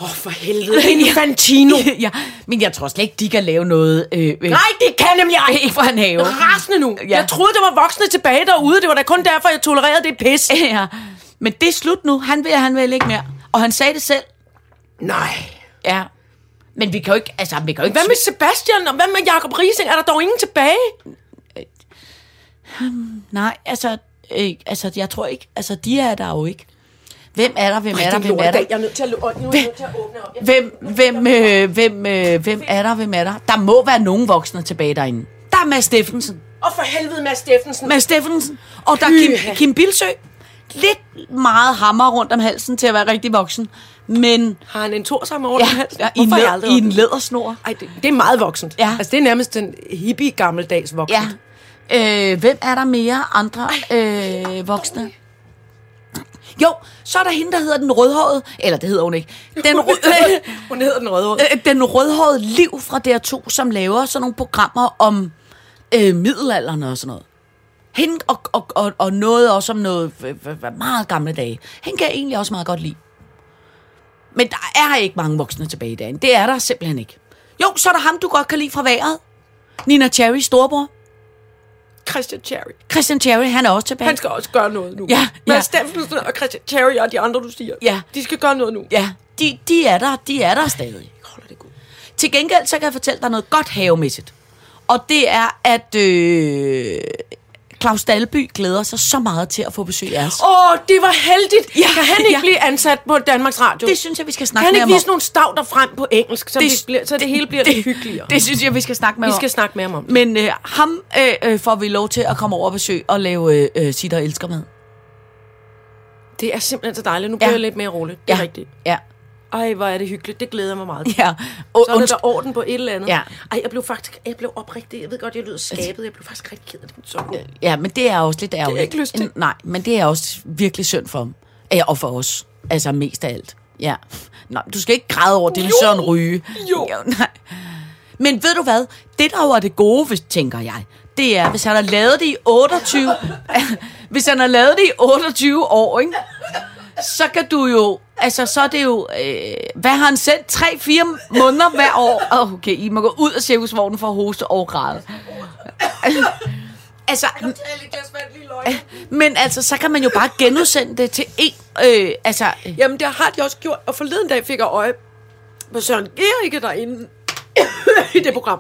Speaker 4: Åh, oh, for helvede. Hende Fantino.
Speaker 3: ja, men jeg tror slet ikke, de kan lave noget... Øh, øh,
Speaker 4: Nej, det kan nemlig jeg
Speaker 3: Ikke fra en have.
Speaker 4: rasende nu. Ja.
Speaker 3: Ja.
Speaker 4: Jeg troede, der var voksne tilbage derude. Det var da kun derfor, jeg tolererede det pis.
Speaker 3: Ja. Men det er slut nu. Han vil, han vil ikke mere. Og han sagde det selv.
Speaker 4: Nej.
Speaker 3: Ja. Men vi kan jo ikke... Altså, vi kan jo ikke...
Speaker 4: Hvad med Sebastian og hvad med Jacob Rising? Er der dog ingen tilbage?
Speaker 3: Nej, altså, øh, altså, jeg tror ikke... Altså, de er der jo ikke. Hvem er der? Hvem er der?
Speaker 4: det
Speaker 3: Hvem er
Speaker 4: lortedag.
Speaker 3: der?
Speaker 4: Jeg er nødt til at løbe nu. er Jeg nødt til at åbne op. Jeg-
Speaker 3: Hvem, hvem, øh, hvem, øh, hvem er der? Hvem er der? Der må være nogen voksne tilbage derinde. Der er Mads Steffensen.
Speaker 4: Og for helvede, Mads Steffensen.
Speaker 3: Mads Steffensen. Og der er Kim, Kim Bilsø. Lidt meget hammer rundt om halsen til at være rigtig voksen. Men
Speaker 4: Har han en tor sammen over
Speaker 3: ja,
Speaker 4: den hals?
Speaker 3: ja, i, en
Speaker 4: Hvorfor har jeg
Speaker 3: led,
Speaker 4: aldrig
Speaker 3: i
Speaker 4: opdaget
Speaker 3: en
Speaker 4: det?
Speaker 3: lædersnor.
Speaker 4: Ej, det, det er meget voksent.
Speaker 3: Ja.
Speaker 4: Altså, det er nemmest den hippie gammeldags voksen.
Speaker 3: Ja. Øh, hvem er der mere andre øh, voksne? Jo, så er der hende, der hedder den rødhårede. Eller det hedder hun ikke. Den, rød,
Speaker 4: Hun hedder den røde
Speaker 3: øh, den rødhårede Liv fra DR2, som laver sådan nogle programmer om øh, middelalderen og sådan noget. Hende og, og, og, og noget også om noget øh, øh, meget gamle dage. Hende kan jeg egentlig også meget godt lide. Men der er ikke mange voksne tilbage i dagen. Det er der simpelthen ikke. Jo, så er der ham, du godt kan lide fra vejret. Nina Cherry, storbror.
Speaker 4: Christian Cherry.
Speaker 3: Christian Cherry, han er også tilbage.
Speaker 4: Han skal også gøre noget nu.
Speaker 3: Ja, ja.
Speaker 4: Mads Steffensen og Christian Cherry og de andre, du siger.
Speaker 3: Ja.
Speaker 4: De skal gøre noget nu.
Speaker 3: Ja, de, de er der, de er der stadig.
Speaker 4: Holder det godt.
Speaker 3: Til gengæld, så kan jeg fortælle dig noget godt havemæssigt. Og det er, at øh, Claus Dalby glæder sig så meget til at få besøg af os.
Speaker 4: Åh, oh, det var heldigt. Ja,
Speaker 3: Ja,
Speaker 4: kan han ikke ja.
Speaker 3: ja.
Speaker 4: blive ansat på Danmarks Radio?
Speaker 3: Det synes jeg, vi skal
Speaker 4: kan
Speaker 3: snakke
Speaker 4: han
Speaker 3: mere
Speaker 4: ikke
Speaker 3: om.
Speaker 4: vise nogle stavter frem på engelsk, så det, det, bliver, så det, hele bliver lidt hyggeligere?
Speaker 3: Det, det synes jeg, vi skal snakke med
Speaker 4: vi
Speaker 3: om.
Speaker 4: skal snakke mere om det.
Speaker 3: Men øh, ham øh, øh, får vi lov til at komme over og besøge og lave øh, øh, sit og elsker med.
Speaker 4: Det er simpelthen så dejligt. Nu bliver
Speaker 3: Ja.
Speaker 4: jeg lidt mere rolig. Det er
Speaker 3: ja.
Speaker 4: rigtigt.
Speaker 3: Ja.
Speaker 4: Ej, hvor er det hyggeligt. Det glæder jeg mig meget. til.
Speaker 3: ja. Og,
Speaker 4: Så er der, der orden på et eller andet.
Speaker 3: Ja.
Speaker 4: Ej, jeg blev faktisk jeg blev oprigtig. Jeg ved godt, jeg lyder skabet. Jeg blev faktisk rigtig ked af det. men Så god.
Speaker 3: Ja, men det er også lidt ærgerligt.
Speaker 4: ikke lyst til.
Speaker 3: Nej, men det er også virkelig synd for dem. Ja, og for os. Altså mest af alt. Ja. Nej, du skal ikke græde over det, med Søren Ryge.
Speaker 4: Jo.
Speaker 3: nej. Men ved du hvad? Det der jo er det gode, hvis, tænker jeg, det er, hvis han har lavet det i 28... hvis han har lavet det i 28 år, ikke? så kan du jo... Altså, så er det jo... Øh, hvad har han sendt? 3-4 måneder hver år? Åh, Okay, I må gå ud af cirkusvognen for at hoste og græde. altså, men altså, så kan man jo bare genudsende det til en... Øh, altså, øh,
Speaker 4: Jamen, det har de også gjort. Og forleden dag fik jeg øje på Søren Gericke derinde i det program.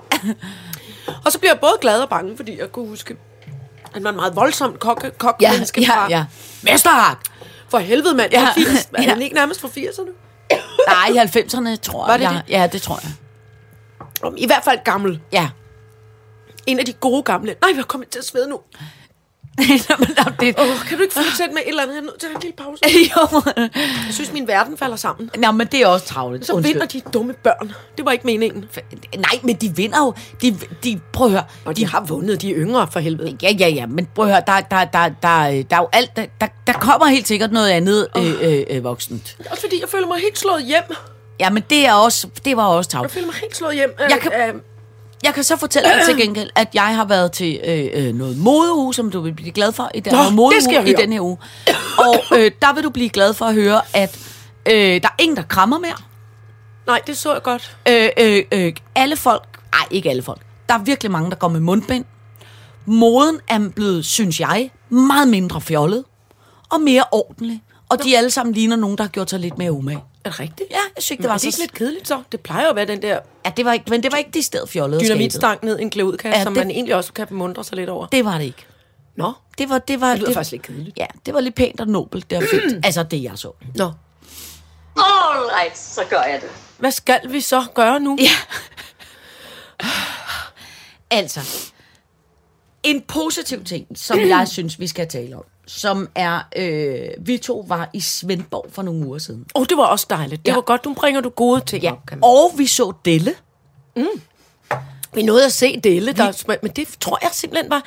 Speaker 4: Og så blev jeg både glad og bange, fordi jeg kunne huske, at han var en meget voldsom kokke, kok
Speaker 3: ja,
Speaker 4: menneske
Speaker 3: ja,
Speaker 4: fra-
Speaker 3: ja. Mesterhak!
Speaker 4: For helvede, mand.
Speaker 3: Ja.
Speaker 4: Ja. 80, er
Speaker 3: Ja.
Speaker 4: han ikke nærmest fra 80'erne?
Speaker 3: Nej, i 90'erne, tror jeg.
Speaker 4: Var det
Speaker 3: jeg,
Speaker 4: det?
Speaker 3: Ja, det tror jeg.
Speaker 4: Om- I hvert fald gammel.
Speaker 3: Ja.
Speaker 4: En af de gode gamle. Nej, jeg kommer til at svede nu.
Speaker 3: Nå, men, nå, det,
Speaker 4: Åh, kan du ikke fortsætte med et eller andet? Jeg er nødt til at have en lille pause.
Speaker 3: jo.
Speaker 4: Jeg synes, min verden falder sammen.
Speaker 3: Nå, men det er også travligt.
Speaker 4: Så Undskyld. vinder de dumme børn. Det var ikke meningen.
Speaker 3: Nej, men de vinder jo. De, de, prøv at høre.
Speaker 4: Og de har vundet, de er yngre for helvede.
Speaker 3: Ja, ja, ja, men prøv at høre, der, der, der, der, øh, der er jo alt, der, der, der kommer helt sikkert noget andet oh. øh, øh, øh, voksent.
Speaker 4: Også fordi jeg føler mig helt slået hjem.
Speaker 3: Ja, men det, er også, det var også
Speaker 4: Jeg
Speaker 3: travlt.
Speaker 4: føler mig helt slået hjem.
Speaker 3: Jeg kan-
Speaker 4: Øh, øh,
Speaker 3: Jeg kan så fortælle dig til gengæld, at jeg har været til øh, øh, noget modeuge, som du vil blive glad for i den
Speaker 4: Nå,
Speaker 3: her
Speaker 4: det skal jeg
Speaker 3: modeuge i
Speaker 4: høre.
Speaker 3: den her uge. Og øh, der vil du blive glad for at høre, at øh, der er ingen, der krammer mere.
Speaker 4: nej, det så jeg godt.
Speaker 3: Øh, øh, øh, alle folk, nej ikke alle folk, der er virkelig mange, der går med mundbind. Moden er blevet, synes jeg, meget mindre fjollet og mere ordentlig. Og de alle sammen ligner nogen, der har gjort sig lidt mere umage.
Speaker 4: Er det rigtigt?
Speaker 3: Ja, jeg synes ikke,
Speaker 4: det
Speaker 3: det
Speaker 4: var
Speaker 3: var
Speaker 4: det
Speaker 3: så...
Speaker 4: ikke lidt kedeligt så? Det plejer jo at være den der
Speaker 3: Ja, det var ikke, men det var ikke de sted fjollet og skabet.
Speaker 4: dynamitstang ned i en klæudkasse,
Speaker 3: Ja,
Speaker 4: som
Speaker 3: det-
Speaker 4: man egentlig også kan mundre sig lidt over.
Speaker 3: Det var det ikke.
Speaker 4: Nå,
Speaker 3: Det var, det var,
Speaker 4: lyder faktisk lidt kedeligt.
Speaker 3: Ja, det var lidt pænt og nobelt. Det var fedt. altså, det jeg så.
Speaker 4: nå.
Speaker 2: Alright, så gør jeg det.
Speaker 4: Hvad skal vi så gøre nu?
Speaker 3: Ja. altså, En positiv ting, som jeg synes, vi skal tale om, som er, øh, vi to var i Svendborg for nogle uger siden.
Speaker 4: Åh, oh, det var også dejligt. Det
Speaker 3: Ja.
Speaker 4: var godt, du bringer du gode ting ja. op, kan man.
Speaker 3: Og vi så Delle.
Speaker 4: Vi nåede at se Delle, der, smag- men det tror jeg simpelthen var...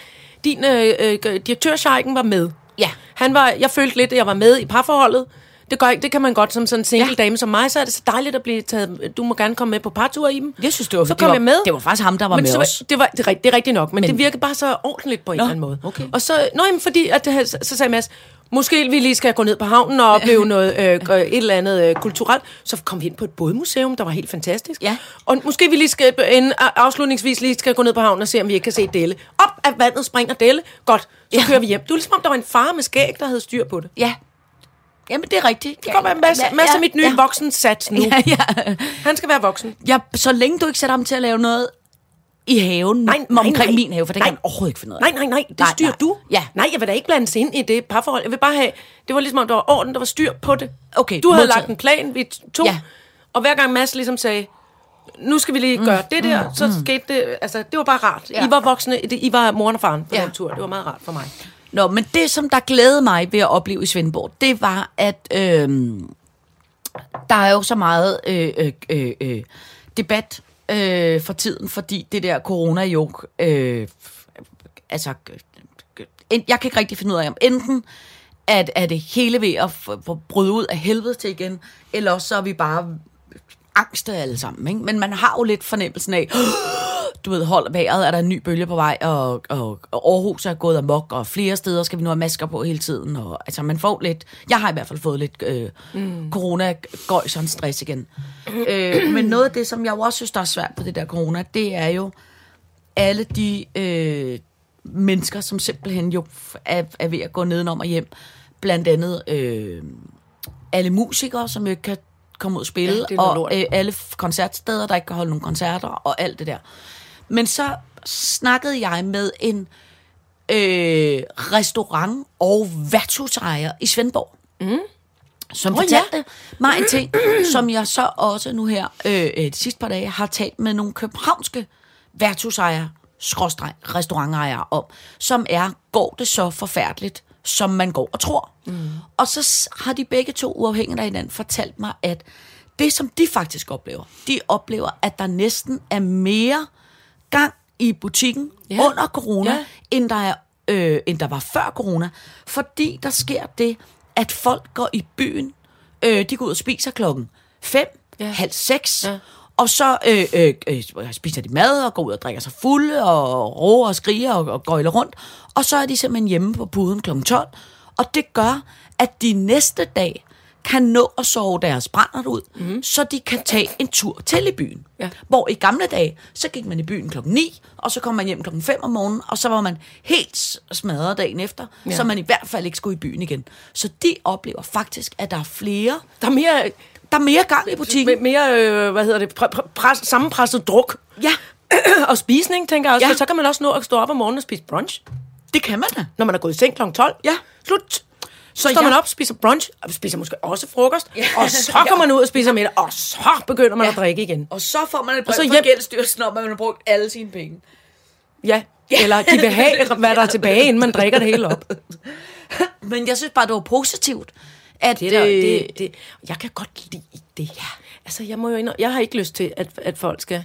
Speaker 4: Din øh, øh, direktør Scheiken var med.
Speaker 3: Ja.
Speaker 4: Han var, jeg følte lidt, at jeg var med i parforholdet. Det, gør, ikke- det kan man godt som sådan en single ja. dame som mig, så er det så dejligt at blive taget... Du må gerne komme med på partur i dem.
Speaker 3: Jeg synes, det var,
Speaker 4: så
Speaker 3: det
Speaker 4: kom
Speaker 3: var,
Speaker 4: jeg med.
Speaker 3: Det var faktisk ham, der var
Speaker 4: men
Speaker 3: med
Speaker 4: så,
Speaker 3: os.
Speaker 4: Det, var, det, er, rigt- det er rigtigt nok,
Speaker 3: Men-
Speaker 4: men, men det virkede bare så ordentligt på en
Speaker 3: Nå,
Speaker 4: eller anden måde.
Speaker 3: okay.
Speaker 4: Og så, nå, jamen, fordi, at det, her- så, så sagde Mads, måske vi lige skal gå ned på havnen og opleve noget, øh, øh, et eller andet øh, kulturelt. Så kom vi ind på et bådmuseum, der var helt fantastisk.
Speaker 3: Ja.
Speaker 4: Og måske vi lige skal, en, afslutningsvis lige skal gå ned på havnen og se, om vi ikke kan se Delle. Op af vandet springer Delle. Godt, så
Speaker 3: Ja.
Speaker 4: ja. kører vi hjem. Det var ligesom, om der var en far med skæg, der havde styr på det.
Speaker 3: Ja. Jamen, det er rigtigt.
Speaker 4: Det kommer en masse, masse af mit nye ja. voksensats nu.
Speaker 3: Ja, ja.
Speaker 4: Han skal være voksen.
Speaker 3: ja, så længe du ikke sætter ham til at lave noget i haven,
Speaker 4: Nej, nej,
Speaker 3: omkring
Speaker 4: nej.
Speaker 3: min have, for det kan
Speaker 4: Nej.
Speaker 3: han overhovedet ikke finde ud af.
Speaker 4: Nej, nej, nej, det
Speaker 3: Nej,
Speaker 4: nej, styrer
Speaker 3: nej.
Speaker 4: nej. du.
Speaker 3: Ja.
Speaker 4: Nej, jeg vil da ikke blandes ind i det parforhold. Jeg vil bare have, det var ligesom om, der var orden, der var styr på det.
Speaker 3: Okay,
Speaker 4: Du havde
Speaker 3: modtaget.
Speaker 4: lagt en plan, vi to.
Speaker 3: Ja.
Speaker 4: Ja. Og hver gang Mads ligesom sagde, nu skal vi lige gøre det der, så skete det, altså det var bare rart.
Speaker 3: Ja.
Speaker 4: Mm, Ja. I var voksne, det- I var moren og faren på
Speaker 3: Ja.
Speaker 4: ja. den tur, det var meget rart for mig.
Speaker 3: Nå, men det, som der glædede mig ved at opleve i Svendborg, det var, at øhm, der er jo så meget øh, øh, øh, øh, debat øh, for tiden, fordi det der corona jo øh, altså, en- jeg kan ikke rigtig finde ud af, om enten at, at det hele ved at f- f- bryde ud af helvede til igen, eller også så er vi bare angste alle sammen. Ikke? Men man har jo lidt fornemmelsen af, du ved, hold vejret, er der en ny bølge på vej, og, og, og Aarhus er gået amok, og flere steder skal vi nu have masker på hele tiden. Og, altså, man får lidt, jeg har i hvert fald fået lidt øh, mm. corona gøjs og en stress igen. øh, men noget af det, som jeg jo også synes, der er svært på det der corona, det er jo alle de øh, mennesker, som simpelthen jo f- er, er ved at gå nedenom og hjem. Blandt andet øh, alle musikere, som jo ikke kan komme ud og spille,
Speaker 4: det er noget
Speaker 3: og
Speaker 4: lort.
Speaker 3: øh, alle f- koncertsteder, der ikke kan holde nogen koncerter, og alt det der. Men så snakkede jeg med en øh, restaurant- og værtshusejer i Svendborg, mm. som oh, fortalte ja. mig en ting, som jeg så også nu her øh, øh, de sidste par dage har talt med nogle københavnske værtshusejere, skråstreg, restaurantejere om, som er, går det så forfærdeligt, som man går og tror. Mm. Og så s- har de begge to uafhængigt af hinanden fortalt mig, at det, som de faktisk oplever, de oplever, at der næsten er mere gang i butikken
Speaker 4: Ja.
Speaker 3: under corona,
Speaker 4: Ja.
Speaker 3: end der, er, øh, end der var før corona. Fordi der sker det, at folk går i byen, øh, de går ud og spiser klokken 5, ja.
Speaker 4: Ja.
Speaker 3: halv 6, ja.
Speaker 4: Ja.
Speaker 3: og så øh, øh, øh, spiser de mad og går ud og drikker sig fulde og råber og skriger og, og gøjler rundt. Og så er de simpelthen hjemme på puden klokken 12, og det gør, at de næste dag kan nå at sove deres brændert ud, mm. så de kan tage en tur til i byen.
Speaker 4: Mhm. Ja.
Speaker 3: Hvor i gamle dage, så gik man i byen klokken 9, og så kom man hjem klokken 5 om morgenen, og så var man helt s- smadret dagen efter, ja.
Speaker 4: Ja.
Speaker 3: så man i hvert fald ikke skulle i byen igen. Så de oplever faktisk, at der er flere,
Speaker 4: Der er mere,
Speaker 3: der er mere gang i butikken.
Speaker 4: med- mere øh, hvad hedder det, pre- pre- pres, sammenpresset druk.
Speaker 3: Ja,
Speaker 4: og spisning, tænker jeg også.
Speaker 3: Ja.
Speaker 4: Ja. Så kan man også nå at stå op om morgenen og spise brunch.
Speaker 3: det kan man da.
Speaker 4: når man er gået i seng kl. 12.
Speaker 3: Ja.
Speaker 4: Slut.
Speaker 3: Så
Speaker 4: Så står
Speaker 3: jeg-
Speaker 4: man op, spiser brunch, og spiser måske også frokost,
Speaker 3: Ja.
Speaker 4: ja. og så går man ud og spiser middag, og så begynder man ja. at drikke igen.
Speaker 3: Og så får man et brev
Speaker 4: så
Speaker 3: fra
Speaker 4: hjem.
Speaker 3: Gældsstyrelsen om, at man har brugt alle sine penge.
Speaker 4: Ja. Eller de vil have, hvad der er tilbage, inden man drikker det hele op.
Speaker 3: Men jeg synes bare, det var positivt, at...
Speaker 4: Det, der,
Speaker 3: øh,
Speaker 4: det, det, jeg kan godt lide det. Ja. Altså, jeg, må jo indrø- jeg har ikke lyst til, at, at folk skal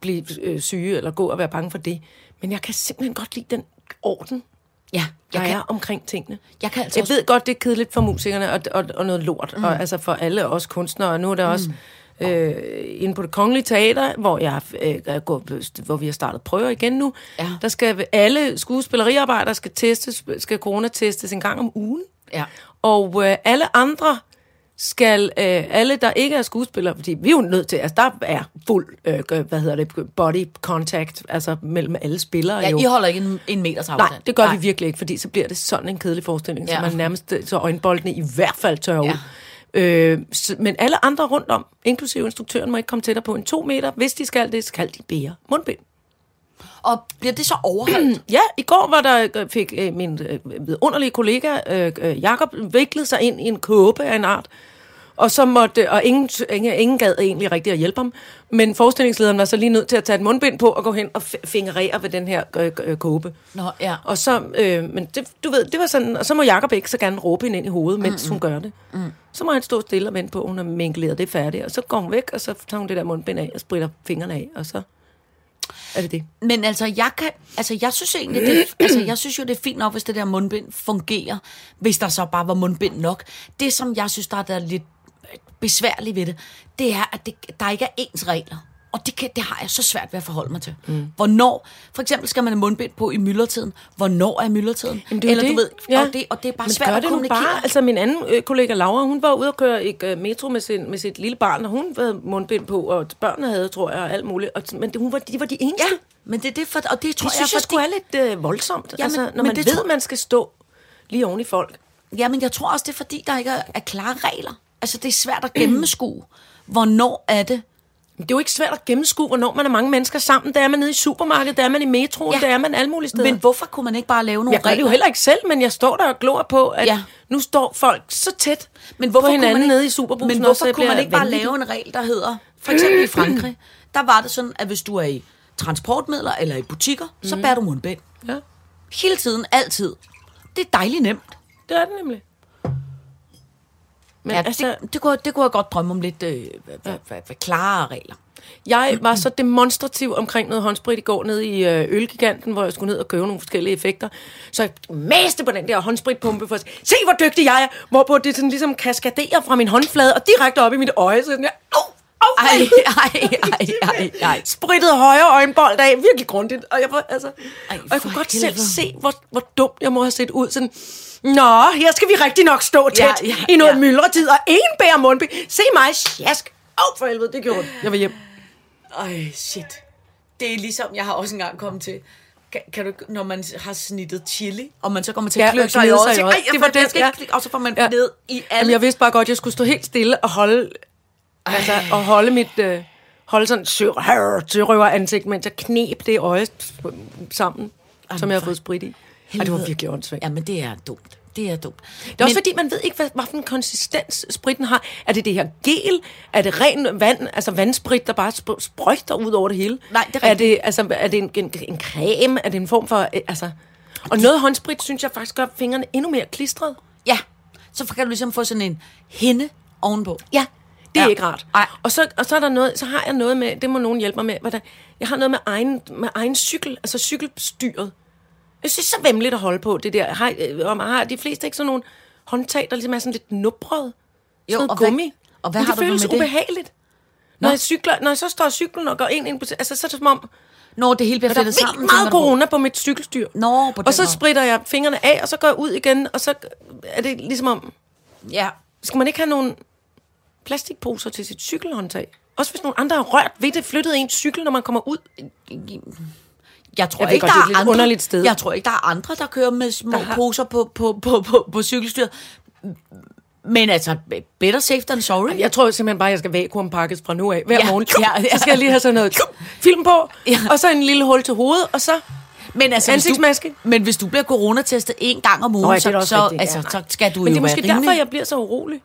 Speaker 4: blive øh, syge eller gå og være bange for det. Men jeg kan simpelthen godt lide den orden,
Speaker 3: ja,
Speaker 4: der
Speaker 3: jeg kan,
Speaker 4: er omkring tingene.
Speaker 3: jeg kan altså
Speaker 4: Jeg
Speaker 3: også-
Speaker 4: ved godt, det er kedeligt for musikerne og, og, og noget lort, mm. og altså for alle os kunstnere, og nu er der mm. også øh, inde på det kongelige teater, hvor, jeg, øh, er gået- hvor vi har startet prøver igen nu,
Speaker 3: Ja.
Speaker 4: der skal alle skuespilleriarbejdere skal, testes, skal coronatestes en gang om ugen,
Speaker 3: Ja.
Speaker 4: og øh, alle andre skal øh, alle, der ikke er skuespillere, fordi vi er jo nødt til, altså der er fuld, øh, hvad hedder det, body contact, altså mellem alle spillere
Speaker 3: Ja,
Speaker 4: jo.
Speaker 3: I holder ikke en, en meters afstand.
Speaker 4: Nej, det gør Nej. vi virkelig ikke, fordi så bliver det sådan en kedelig forestilling, ja.
Speaker 3: Ja.
Speaker 4: så man nærmest øh, så øjenboldene i hvert fald tørrer
Speaker 3: Ja.
Speaker 4: ja. ud. Øh, så, men alle andre rundt om, inklusive instruktøren, må ikke komme tættere på en to meter. Hvis de skal det, skal de bære mundbind.
Speaker 3: Og bliver det så overholdt?
Speaker 4: Ja, i går var der, øh, fik øh, min øh, vidunderlige kollega øh, øh, Jakob viklet sig ind i en kåbe af en art, Og så måtte, og ingen, ingen, ingen gad egentlig rigtig at hjælpe ham, men forestillingslederen var så lige nødt til at tage et mundbind på og gå hen og f- fingerere ved den her øh, øh, kåbe.
Speaker 3: Nå, ja.
Speaker 4: Og så, øh, men det, du ved, det var sådan, og så må Jacob ikke så gerne råbe hende ind i hovedet, mens mm hun gør det. Mm. Så må han stå stille og vente på, at hun har mingleret det færdigt, og så går hun væk, og så tager hun det der mundbind af og spritter fingrene af, og så er det det.
Speaker 3: Men altså, jeg kan, altså, jeg synes egentlig, det, altså, jeg synes jo, det er fint nok, hvis det der mundbind fungerer, hvis der så bare var mundbind nok. Det, som jeg synes, der er der lidt besværligt ved det, det er, at det, der ikke er ens regler. Og det, kan, det har jeg så svært ved at forholde mig til. Mm. Hvornår, for eksempel skal man have mundbind på i myldretiden. Hvornår er myldretiden?
Speaker 4: Jamen, det er jo
Speaker 3: Eller
Speaker 4: det.
Speaker 3: du ved,
Speaker 4: Ja.
Speaker 3: og, det, og det er bare
Speaker 4: Men
Speaker 3: svært
Speaker 4: gør
Speaker 3: at
Speaker 4: det nu
Speaker 3: kommunikere.
Speaker 4: bare. Altså, min anden øh, kollega Laura, hun var ude at køre i øh, metro med, sin, med sit lille barn, og hun havde mundbind på, og børnene havde, tror jeg, og alt muligt. Og, men det, hun var, de var de eneste.
Speaker 3: Ja, men det er det, for, og det tror
Speaker 4: Det synes jeg,
Speaker 3: fordi-
Speaker 4: skulle er lidt øh, voldsomt.
Speaker 3: Jamen,
Speaker 4: altså, når
Speaker 3: men
Speaker 4: man
Speaker 3: det
Speaker 4: ved,
Speaker 3: tror-
Speaker 4: at man skal stå lige oven i folk.
Speaker 3: Ja, men jeg tror også, det er fordi, der ikke er, er klare regler. Altså, det er svært at gennemskue. Hvornår er det?
Speaker 4: Men Det er jo ikke svært at gennemskue, hvornår man er mange mennesker sammen. Der er man nede i supermarkedet, der er man i metroen,
Speaker 3: Ja.
Speaker 4: ja. der er man alle mulige steder.
Speaker 3: Men hvorfor kunne man ikke bare lave nogle
Speaker 4: jeg gør det
Speaker 3: regler?
Speaker 4: jo heller ikke selv, men jeg står der og glor på, at
Speaker 3: Ja.
Speaker 4: ja. nu står folk så tæt
Speaker 3: men hvorfor
Speaker 4: på hinanden
Speaker 3: kunne man ikke,
Speaker 4: nede i superbussen.
Speaker 3: Men
Speaker 4: også, så
Speaker 3: hvorfor
Speaker 4: jeg
Speaker 3: kunne man
Speaker 4: bliver
Speaker 3: ikke bare
Speaker 4: vanvittig.
Speaker 3: lave en regel, der hedder... For eksempel i Frankrig, der var det sådan, at hvis du er i transportmidler eller i butikker, mm. så bærer du mundbind.
Speaker 4: Ja,
Speaker 3: Hele tiden, altid. Det er dejligt nemt.
Speaker 4: det er det nemlig. Men
Speaker 3: Ja, altså, det, det, kunne, jeg- det kunne jeg godt drømme om lidt øh, hva- hva- hva- hva- klarere regler.
Speaker 4: Jeg var så demonstrativ omkring noget håndsprit i går nede i øh, Ølgiganten, hvor jeg skulle ned og købe nogle forskellige effekter. Så jeg maste på den der håndspritpumpe for at sige, se, hvor dygtig jeg er, hvorpå det sådan ligesom kaskaderer fra min håndflade og direkte op i mit øje. Så sådan, jeg, au, au,
Speaker 3: Ej, ej, ej, ej, ej.
Speaker 4: Sprittede højre øjenbold af virkelig grundigt. Og jeg, var, altså,
Speaker 3: Ej,
Speaker 4: Ej, og jeg
Speaker 3: for
Speaker 4: kunne godt
Speaker 3: helvede.
Speaker 4: selv se, hvor, hvor dumt jeg må have set ud. Sådan, Nå, her skal vi rigtig nok stå tæt ja, ja, i noget ja. myldretid, og en bærer mundbind. Se mig, sjask. Åh, for helvede, det gjorde ondt. Jeg var hjem.
Speaker 3: Ej, shit. Det er ligesom, jeg har også engang kommet til, kan, kan du, ikke- når man har snittet chili, og man så kommer til
Speaker 4: Ja,
Speaker 3: at
Speaker 4: og
Speaker 3: klø sig i
Speaker 4: gnide
Speaker 3: øjet,
Speaker 4: sig
Speaker 3: og
Speaker 4: i
Speaker 3: tænker,
Speaker 4: øjet.
Speaker 3: "Ej, jeg
Speaker 4: Det var
Speaker 3: får- jeg
Speaker 4: den,
Speaker 3: skal ikke
Speaker 4: ja.
Speaker 3: klikke," og så får man
Speaker 4: Ja.
Speaker 3: ned i alle.
Speaker 4: Jamen, jeg vidste bare godt, at jeg skulle stå helt stille og holde, altså, og holde mit... Øh, holde sådan sørøver ansigt, mens jeg knep det øje sammen, Jamen, som jeg har
Speaker 3: for
Speaker 4: fået sprit i. Ej, det var virkelig åndssvagt.
Speaker 3: Jamen, det er dumt. Det er dumt.
Speaker 4: Det er også fordi, man ved ikke, hvad, hvad for en konsistens spritten har. Er det det her gel? Er det ren vand, altså vandsprit, der bare sp- sprøjter ud over det hele?
Speaker 3: Nej, det er
Speaker 4: er det, altså, er det en, en, en creme? Er det en form for... øh, Altså, og noget håndsprit, synes jeg faktisk gør fingrene endnu mere klistret.
Speaker 3: Ja, så kan du ligesom få sådan en hende ovenpå.
Speaker 4: Ja, det er
Speaker 3: Ja.
Speaker 4: ja. ikke rart.
Speaker 3: Ej.
Speaker 4: Og så, og så er der noget, så har jeg noget med, det må nogen hjælpe mig med, hvordan, jeg har noget med egen, med egen cykel, altså cykelstyret. Jeg synes, det er så vemmeligt at holde på det der. Har, øh, om, har de fleste ikke sådan nogle håndtag, der ligesom er sådan lidt nubret?
Speaker 3: Jo,
Speaker 4: Jo, sådan
Speaker 3: og
Speaker 4: noget
Speaker 3: hvad-
Speaker 4: gummi.
Speaker 3: og hvad
Speaker 4: Men
Speaker 3: har
Speaker 4: det
Speaker 3: du det
Speaker 4: føles
Speaker 3: med det?
Speaker 4: ubehageligt. Når jeg, cykler, når jeg så står cyklen og går ind, ind på, altså, så er det som om,
Speaker 3: Når det hele bliver
Speaker 4: der er
Speaker 3: flettet
Speaker 4: vildt
Speaker 3: sammen.
Speaker 4: meget
Speaker 3: tænker du på.
Speaker 4: corona på mit cykelstyr.
Speaker 3: Nå, på den
Speaker 4: og så
Speaker 3: måde.
Speaker 4: spritter jeg fingrene af, og så går jeg ud igen, og så er det ligesom om,
Speaker 3: Ja.
Speaker 4: skal man ikke have nogle plastikposer til sit cykelhåndtag? Også hvis nogle andre har rørt ved det, flyttet ens cykel, når man kommer ud.
Speaker 3: Jeg tror
Speaker 4: Jeg ved
Speaker 3: ikke,
Speaker 4: godt,
Speaker 3: der
Speaker 4: det er
Speaker 3: er
Speaker 4: et lidt
Speaker 3: andre,
Speaker 4: underligt sted.
Speaker 3: Jeg tror ikke, der er andre, der kører med små
Speaker 4: har-
Speaker 3: poser på, på, på, på, på cykelstyret. Men altså, better safe than sorry.
Speaker 4: Jeg tror simpelthen bare, at jeg skal vakuumpakkes fra nu af hver
Speaker 3: Ja,
Speaker 4: morgen.
Speaker 3: ja, ja.
Speaker 4: Så skal jeg lige have sådan noget film på,
Speaker 3: Ja.
Speaker 4: og så en lille hul til hovedet, og så...
Speaker 3: Men altså, hvis
Speaker 4: Ansigtsmaske.
Speaker 3: Du, men hvis du bliver coronatestet en gang om ugen,
Speaker 4: Nå, ja, det
Speaker 3: så,
Speaker 4: er da
Speaker 3: så,
Speaker 4: også rigtigt. Ja,
Speaker 3: altså,
Speaker 4: nej.
Speaker 3: så skal du
Speaker 4: Men det
Speaker 3: jo
Speaker 4: er måske
Speaker 3: være
Speaker 4: derfor,
Speaker 3: rimelig-
Speaker 4: jeg bliver så urolig.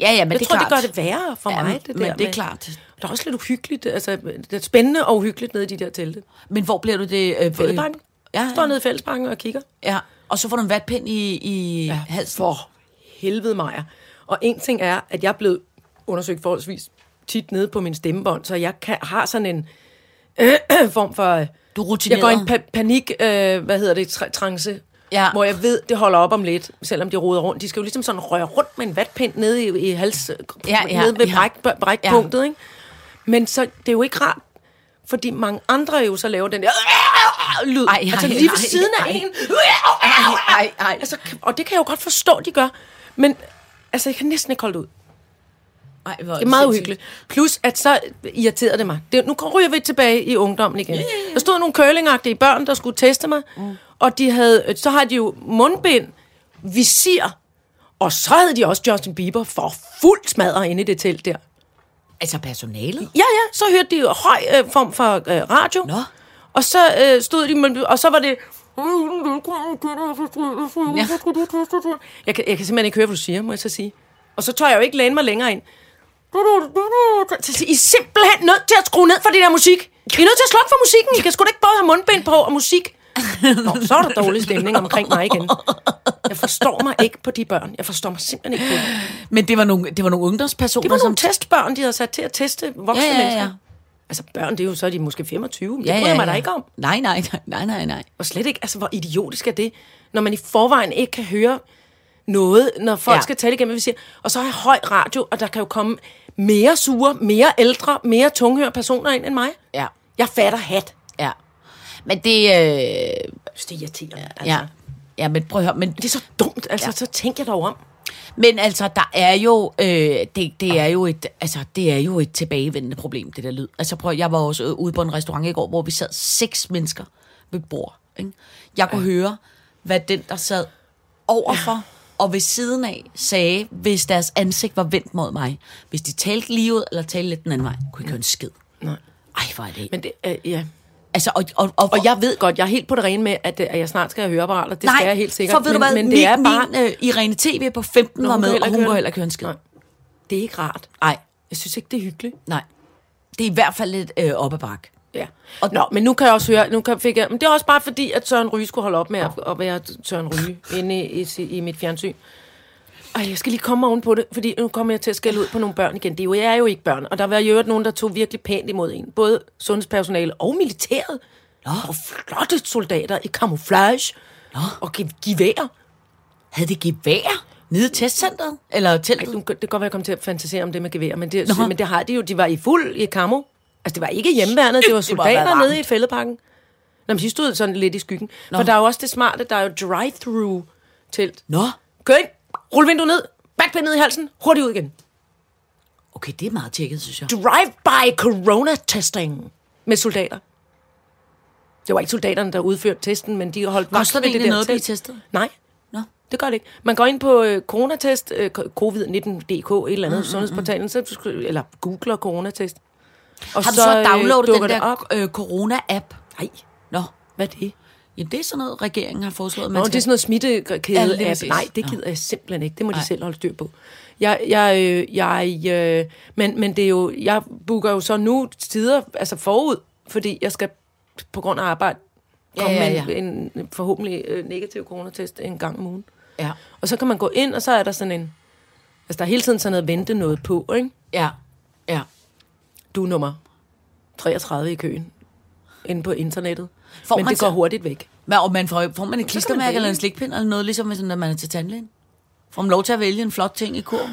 Speaker 3: Ja, ja, men
Speaker 4: Jeg
Speaker 3: det er
Speaker 4: tror,
Speaker 3: klart.
Speaker 4: det gør det værre for
Speaker 3: Ja,
Speaker 4: mig, det der.
Speaker 3: men det er
Speaker 4: med-
Speaker 3: klart.
Speaker 4: Det er også lidt uhyggeligt, altså det er spændende og uhyggeligt nede i de der telte.
Speaker 3: Men hvor bliver du det? Øh,
Speaker 4: Fældebanken.
Speaker 3: Ja,
Speaker 4: Ja, Står
Speaker 3: ja,
Speaker 4: nede i fællesbanken og kigger.
Speaker 3: ja. Og så får du en vatpind i, i ja, halsen. For.
Speaker 4: helvede Maja. Og en ting er, at jeg er blevet undersøgt forholdsvis tit nede på min stemmebånd, så jeg kan, har sådan en øh, form for... Øh,
Speaker 3: Du er
Speaker 4: jeg
Speaker 3: rutineret.
Speaker 4: går i en pa- panik, øh, hvad hedder det, tra- trance,
Speaker 3: Ja.
Speaker 4: hvor jeg ved, det holder op om lidt, selvom de roder rundt. De skal jo ligesom sådan røre rundt med en vatpind nede i, i hals, øh,
Speaker 3: Ja, ja,
Speaker 4: nede ved
Speaker 3: ja.
Speaker 4: bræk, brækpunktet, ikke? Men så, det er jo ikke rart, fordi mange andre jo så laver den der øh, lyd.
Speaker 3: Ej,
Speaker 4: altså
Speaker 3: ej,
Speaker 4: lige
Speaker 3: ej,
Speaker 4: ved siden af
Speaker 3: ej.
Speaker 4: en.
Speaker 3: Ej, ej, ej.
Speaker 4: Altså, og det kan jeg jo godt forstå, de gør. Men altså, jeg kan næsten ikke holde det ud.
Speaker 3: Ej, hvor
Speaker 4: Det er meget uhyggeligt. Plus, at så irriterede det mig. Det, nu ryger vi tilbage i ungdommen igen. Der stod nogle curlingagtige børn, der skulle teste mig. Og de havde, øh, så har de jo mundbind, visir, og så havde de også Justin Bieber for fuld smadret inde i det telt der.
Speaker 3: Altså personalet?
Speaker 4: Ja, ja, så hørte de jo høj øh, form for øh, radio.
Speaker 3: Nå.
Speaker 4: Og så øh, stod de, med- og så var det... Jeg kan, jeg kan simpelthen ikke høre, hvad du siger, må jeg så sige. Og så tør jeg jo ikke læne mig længere ind. Så siger, I er simpelthen nødt til at skrue ned for det der musik. I er nødt til at slukke for musikken. I kan sgu da ikke både have mundbind på og musik. Nå, så er der dårlig stemning omkring mig igen. Jeg forstår mig ikke på de børn. Jeg forstår mig simpelthen ikke på dem.
Speaker 3: Men det var nogle, det var nogle ungdomspersoner,
Speaker 4: Det var
Speaker 3: som...
Speaker 4: nogle testbørn, de havde sat til at teste voksne
Speaker 3: Ja, ja, ja.
Speaker 4: mennesker. Altså børn, det er jo så er de måske 25. men Det bryder jeg mig da ikke om.
Speaker 3: Nej, nej, nej, nej, nej, nej.
Speaker 4: Og slet ikke, altså hvor idiotisk er det, når man i forvejen ikke kan høre noget, når folk
Speaker 3: Ja.
Speaker 4: ja. skal tale igennem, hvad vi siger. Og så har jeg høj radio, og der kan jo komme mere sure, mere ældre, mere tunghøre personer ind end mig.
Speaker 3: Ja,
Speaker 4: Jeg fatter hat.
Speaker 3: ja. Men det... Øh,
Speaker 4: Det er irriterende. Ja. Altså.
Speaker 3: ja. ja, men prøv at høre, men
Speaker 4: Det er så dumt, altså ja. så tænker jeg dog om.
Speaker 3: Men altså, der er jo, øh, det, det, er jo et, altså, det er jo et tilbagevendende problem, det der lyd. Altså prøv, at- jeg var også øh, ude på en restaurant i går, hvor vi sad seks mennesker ved et bord. Ikke? Jeg kunne høre, hvad den, der sad overfor og ved siden af, sagde, hvis deres ansigt var vendt mod mig. Hvis de talte lige ud, eller talte lidt den anden vej, kunne jeg ikke høre en skid.
Speaker 4: Nej.
Speaker 3: Ej, hvor er det. Men,
Speaker 4: Men det, øh, ja.
Speaker 3: altså, og, og, og,
Speaker 4: Og jeg ved godt, jeg er helt på det rene med, at, øh, at jeg snart skal have høreapparater. Det skal jeg helt sikkert.
Speaker 3: for ved
Speaker 4: men,
Speaker 3: du hvad,
Speaker 4: men det er
Speaker 3: min,
Speaker 4: bare...
Speaker 3: min øh, Irene TV på 15
Speaker 4: Nå,
Speaker 3: var
Speaker 4: hun
Speaker 3: med,
Speaker 4: kan heller
Speaker 3: og hun
Speaker 4: ikke høre
Speaker 3: kunne
Speaker 4: det.
Speaker 3: heller ikke høre en skid.
Speaker 4: Nej. Det er ikke rart.
Speaker 3: Nej.
Speaker 4: Jeg synes ikke, det er hyggeligt.
Speaker 3: Nej. Det er i hvert fald lidt øh, op ad bakke.
Speaker 4: Ja.
Speaker 3: Og-
Speaker 4: Og Nå, men nu kan jeg også høre, nu kan, fik jeg, men det er også bare fordi, at Søren Ryge skulle holde op med at, at være Søren Ryge inde i, i, i mit fjernsyn. Ej, jeg skal lige komme oven på det, fordi nu kommer jeg til at skælde ud på nogle børn igen. Det er jo, jeg er jo ikke børn, og der var jo øvrigt nogen, der tog virkelig pænt imod en. Både sundhedspersonale og militæret. Nå. Og flotte soldater i camouflage. Nå. Og ge- gevær.
Speaker 3: Havde det gevær nede i testcenteret? Eller
Speaker 4: Ej, nu,
Speaker 3: teltet?
Speaker 4: kan- det kan godt være, jeg kom til at fantasere om det med gevær, men det,
Speaker 3: Nå.
Speaker 4: men det har de jo. De var i fuld i kammo. Altså, det var ikke hjemmeværnet, det var
Speaker 3: Det må have været
Speaker 4: soldater
Speaker 3: varmt.
Speaker 4: nede i fældepakken. Nå, men de stod sådan lidt i skyggen. Nå. For der er jo også det smarte, der er jo drive-through-telt.
Speaker 3: Nå,
Speaker 4: Kør ind, rul vinduet ned, backpind ned i halsen, hurtigt ud igen.
Speaker 3: okay, det er meget tjekket, synes jeg.
Speaker 4: Drive-by corona-testing med soldater. Det var ikke soldaterne, der udførte testen, men de holdt vagt
Speaker 3: Koster det
Speaker 4: ved det
Speaker 3: egentlig
Speaker 4: der
Speaker 3: noget at blive
Speaker 4: telt.
Speaker 3: testet?
Speaker 4: Nej,
Speaker 3: Nå.
Speaker 4: det gør det ikke. Man går ind på øh, coronatest, øh, covid19.dk, et eller andet, mm, sundhedsportalen, så, du skal- eller googler coronatest. Og
Speaker 3: Har du så,
Speaker 4: øh,
Speaker 3: downloadet
Speaker 4: dukker
Speaker 3: den
Speaker 4: det
Speaker 3: der
Speaker 4: op.
Speaker 3: øh, corona-app?
Speaker 4: Nej,
Speaker 3: Nå,
Speaker 4: hvad er det?
Speaker 3: jamen det er sådan noget, regeringen har foreslået.
Speaker 4: Nå, det er sådan noget smittekæde.
Speaker 3: Ja, lige
Speaker 4: Ja,
Speaker 3: præcis.
Speaker 4: Nej, det
Speaker 3: Nå.
Speaker 4: gider jeg simpelthen ikke. Det må de
Speaker 3: Nej.
Speaker 4: selv holde styr på. Jeg, jeg, øh, jeg, øh, men, men det er jo, jeg booker jo så nu tider, altså forud, fordi jeg skal på grund af arbejde komme
Speaker 3: ja,
Speaker 4: ja, ja,
Speaker 3: ja.
Speaker 4: ja. med en, en forhåbentlig øh, negativ coronatest en gang om ugen.
Speaker 3: Ja,
Speaker 4: Og så kan man gå ind, og så er der sådan en... Altså, der er hele tiden sådan noget vente noget på, ikke?
Speaker 3: ja, ja.
Speaker 4: Du er nummer 33 i køen. Inde på internettet.
Speaker 3: Får
Speaker 4: Får Men
Speaker 3: man
Speaker 4: det går
Speaker 3: så-
Speaker 4: hurtigt væk.
Speaker 3: Men, og man får, får man et klistermærke
Speaker 4: vælge.
Speaker 3: eller en slikpind eller noget, ligesom sådan, når man er til tandlægen? Får man lov til at vælge en flot ting i kurven?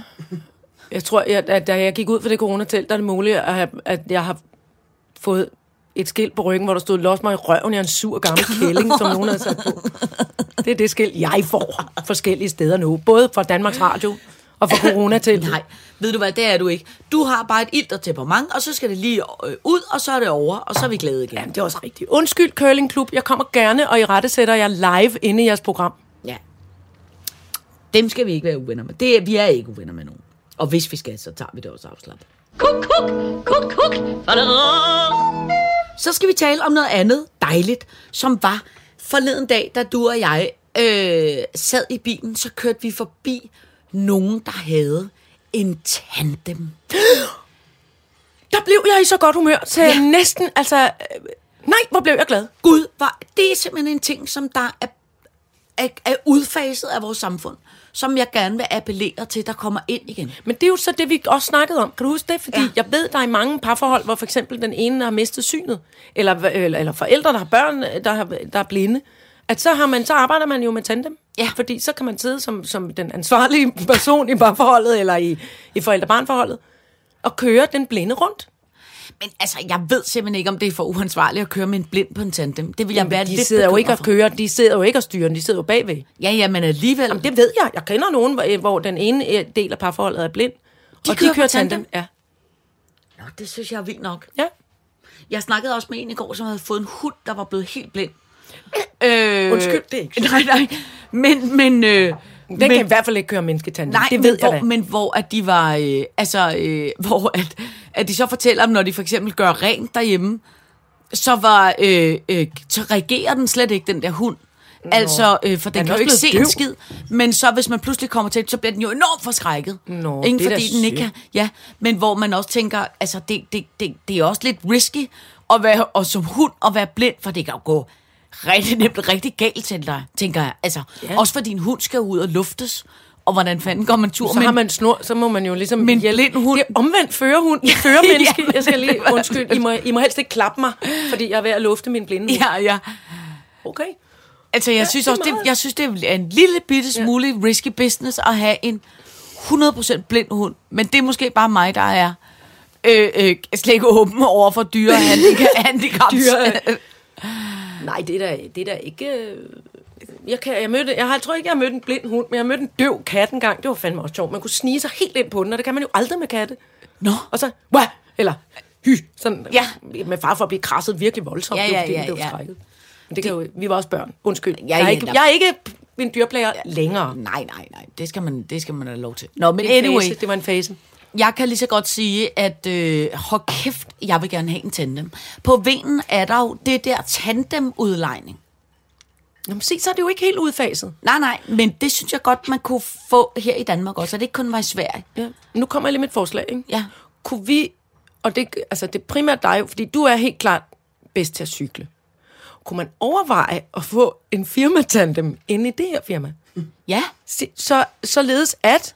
Speaker 4: Jeg tror, jeg, at da jeg gik ud for det coronatelt, der er det muligt, at, have, at jeg har fået et skilt på ryggen, hvor der stod, los mig i røven, jeg er en sur gammel kælling, som nogen havde sat på. Det er det skilt, jeg får forskellige steder nu. Både fra Danmarks Radio og fra coronateltet.
Speaker 3: Nej, ved du hvad, det er du ikke. Du har bare et ilter temperament, og så skal det lige øh, ud, og så er det over, og så er vi glade igen.
Speaker 4: Jamen, det er også rigtigt. Undskyld, curlingklub. Jeg kommer gerne, og i rette sætter jeg live inde i jeres program.
Speaker 3: Ja. Dem skal vi ikke være uvenner med. Det, er- vi er ikke uvenner med nogen. Og hvis vi skal, så tager vi det også afslappet.
Speaker 2: Kuk, kuk, kuk, kuk. Fadadadada.
Speaker 3: Så skal vi tale om noget andet dejligt, som var forleden dag, da du og jeg øh, sad i bilen, så kørte vi forbi nogen, der havde en tandem.
Speaker 4: Der blev jeg i så godt humør til
Speaker 3: Ja.
Speaker 4: ja. næsten, altså... øh, Nej, hvor blev jeg glad.
Speaker 3: Gud, var, det er simpelthen en ting, som der er, er, er udfaset af vores samfund, som jeg gerne vil appellere til, der kommer ind igen.
Speaker 4: Men det er jo så det, vi også snakkede om. Kan du huske det? Fordi
Speaker 3: Ja.
Speaker 4: ja. jeg ved, der er i mange parforhold, hvor for eksempel den ene har mistet synet, eller, eller, eller forældre, der har børn, øh, der, har, der er blinde, at så, har man, så arbejder man jo med tandem.
Speaker 3: Ja.
Speaker 4: Fordi så kan man sidde som, som den ansvarlige person i parforholdet, eller i, i forældre-barn-forholdet, og køre den blinde rundt.
Speaker 3: Men altså, jeg ved simpelthen ikke, om det er for uansvarligt at køre med en blind på en tandem. Det vil jeg være
Speaker 4: Jamen, de
Speaker 3: lidt
Speaker 4: sidder jo
Speaker 3: bekymret
Speaker 4: ikke og
Speaker 3: for.
Speaker 4: kører, de sidder jo ikke og styrer, de sidder jo bagved.
Speaker 3: Ja, ja, men alligevel.
Speaker 4: Jamen, det ved jeg. Jeg kender nogen, hvor- hvor den ene øh, del af parforholdet er blind.
Speaker 3: De
Speaker 4: og
Speaker 3: kører
Speaker 4: de kører
Speaker 3: på tandem?
Speaker 4: tandem. Ja.
Speaker 3: Nå, det synes jeg er vildt nok.
Speaker 4: ja.
Speaker 3: Jeg snakkede også med en i går, som havde fået en hund, der var blevet helt blind. Øh,
Speaker 4: Undskyld, det er ikke
Speaker 3: Nej, nej. Men, men... Øh,
Speaker 4: Den
Speaker 3: men,
Speaker 4: men, kan i hvert fald ikke køre mennesketandem.
Speaker 3: Nej,
Speaker 4: det
Speaker 3: men,
Speaker 4: ved jeg
Speaker 3: hvor,
Speaker 4: da.
Speaker 3: men hvor at de var, øh, altså, øh, hvor at, at de så fortæller om, når de for eksempel gør rent derhjemme, så var, øh, øh, så reagerer den slet ikke, den der hund. Altså, øh, for den
Speaker 4: Han er
Speaker 3: kan jo
Speaker 4: også
Speaker 3: ikke se
Speaker 4: blevet
Speaker 3: en
Speaker 4: døv.
Speaker 3: skid. Men så hvis man pludselig kommer til, så bliver den jo enormt forskrækket.
Speaker 4: Nå,
Speaker 3: Ikke
Speaker 4: det er da
Speaker 3: fordi den ikke
Speaker 4: sygt.
Speaker 3: kan, Ja, men hvor man også tænker, altså det, det, det, det er også lidt risky at være, og som hund at være blind, for det kan jo gå rigtig nemt, rigtig galt til dig, tænker jeg. Altså, ja.
Speaker 4: Ja.
Speaker 3: også fordi en hund skal ud og luftes, og hvordan fanden går man tur?
Speaker 4: Så
Speaker 3: med
Speaker 4: har
Speaker 3: en-
Speaker 4: man snor, så må man jo ligesom
Speaker 3: Men
Speaker 4: hjælpe.
Speaker 3: blind hund-
Speaker 4: Det er omvendt førerhund, førermenneske.
Speaker 3: men
Speaker 4: jeg skal
Speaker 3: det
Speaker 4: lige,
Speaker 3: var-
Speaker 4: undskyld, I må, I må helst ikke klappe mig, fordi jeg er ved at lufte min blinde hund.
Speaker 3: Ja, ja.
Speaker 4: Okay.
Speaker 3: Altså, jeg ja,
Speaker 4: Ja,
Speaker 3: synes
Speaker 4: det er
Speaker 3: også, det,
Speaker 4: meget.
Speaker 3: jeg synes, det er en lille bitte smule ja. risky business at have en 100% blind hund. Men det er måske bare mig, der er øh, øh, slet ikke åben over for dyre handika- handicaps.
Speaker 4: Dyre- Nej, det er da, det er da ikke... øh, Jeg, kan, jeg, mødte, jeg har, tror ikke, jeg har mødt en blind hund, men jeg mødte en døv kat engang. Det var fandme også sjovt. Man kunne snige sig helt ind på den, og det kan man jo aldrig med katte.
Speaker 3: Nå.
Speaker 4: Og så, Wah! eller hy, sådan,
Speaker 3: Ja.
Speaker 4: ja. med far for at blive krasset virkelig voldsomt.
Speaker 3: Ja,
Speaker 4: Det var
Speaker 3: ja,
Speaker 4: fordi,
Speaker 3: ja,
Speaker 4: det var
Speaker 3: ja.
Speaker 4: forskrækket. Men det kan jo, vi var også børn. Undskyld. Jeg,
Speaker 3: er
Speaker 4: er, ikke,
Speaker 3: heller-
Speaker 4: jeg er ikke en dyrplager ja. længere.
Speaker 3: Nej, nej, nej. Det skal man, det skal man have lov til. Nå, men
Speaker 4: Det er en
Speaker 3: anyway.
Speaker 4: fase. Det var en fase.
Speaker 3: Jeg kan lige så godt sige, at øh, hold kæft, jeg vil gerne have en tandem. På vingen er der jo det der tandemudlejning.
Speaker 4: Nå, men se, så er det jo ikke helt udfaset.
Speaker 3: Nej, nej, men det synes jeg godt, man kunne få her i Danmark også. Og det ikke kun var i Sverige.
Speaker 4: Ja. Nu kommer jeg lige med et forslag, ikke?
Speaker 3: Ja.
Speaker 4: Kunne vi, og det, altså det er primært dig, jo, fordi du er helt klart bedst til at cykle. Kunne man overveje at få en firmatandem inde i det her firma?
Speaker 3: Ja,
Speaker 4: Se, Så, således at,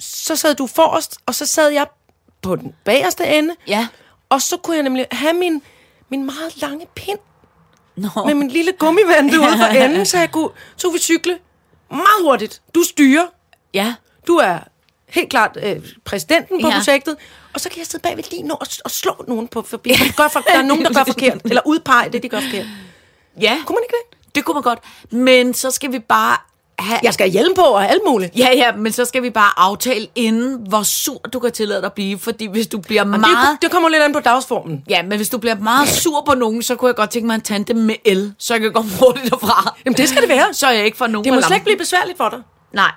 Speaker 4: så sad du forrest, og så sad jeg på den bagerste ende,
Speaker 3: ja.
Speaker 4: og så kunne jeg nemlig have min, min meget lange pind
Speaker 3: Nå.
Speaker 4: med min lille gummivand ude for enden, så jeg kunne, så kunne vi cykle meget hurtigt. Du styrer,
Speaker 3: Ja.
Speaker 4: du er helt klart øh, præsidenten på
Speaker 3: Ja.
Speaker 4: ja. projektet, og så kan jeg sidde bagved lige nå og, og slå nogen på forbi. Der, gør for, der er nogen, der gør forkert, eller udpege det, de gør forkert.
Speaker 3: Ja,
Speaker 4: Kunne man ikke det?
Speaker 3: det kunne man godt. Men så skal vi bare have...
Speaker 4: Jeg skal have hjelm på og alt muligt.
Speaker 3: Ja, ja, men så skal vi bare aftale inden, hvor sur du kan tillade dig at blive. Fordi hvis du bliver
Speaker 4: Men Det,
Speaker 3: meget...
Speaker 4: det kommer lidt an på dagsformen.
Speaker 3: Ja, men hvis du bliver meget sur på nogen, så kunne jeg godt tænke mig en tandem med el, så jeg kan gå hurtigt derfra.
Speaker 4: Jamen, det skal det være.
Speaker 3: Så jeg ikke får nogen
Speaker 4: Det
Speaker 3: på
Speaker 4: må slet
Speaker 3: lampen.
Speaker 4: ikke blive besværligt for dig.
Speaker 3: Nej.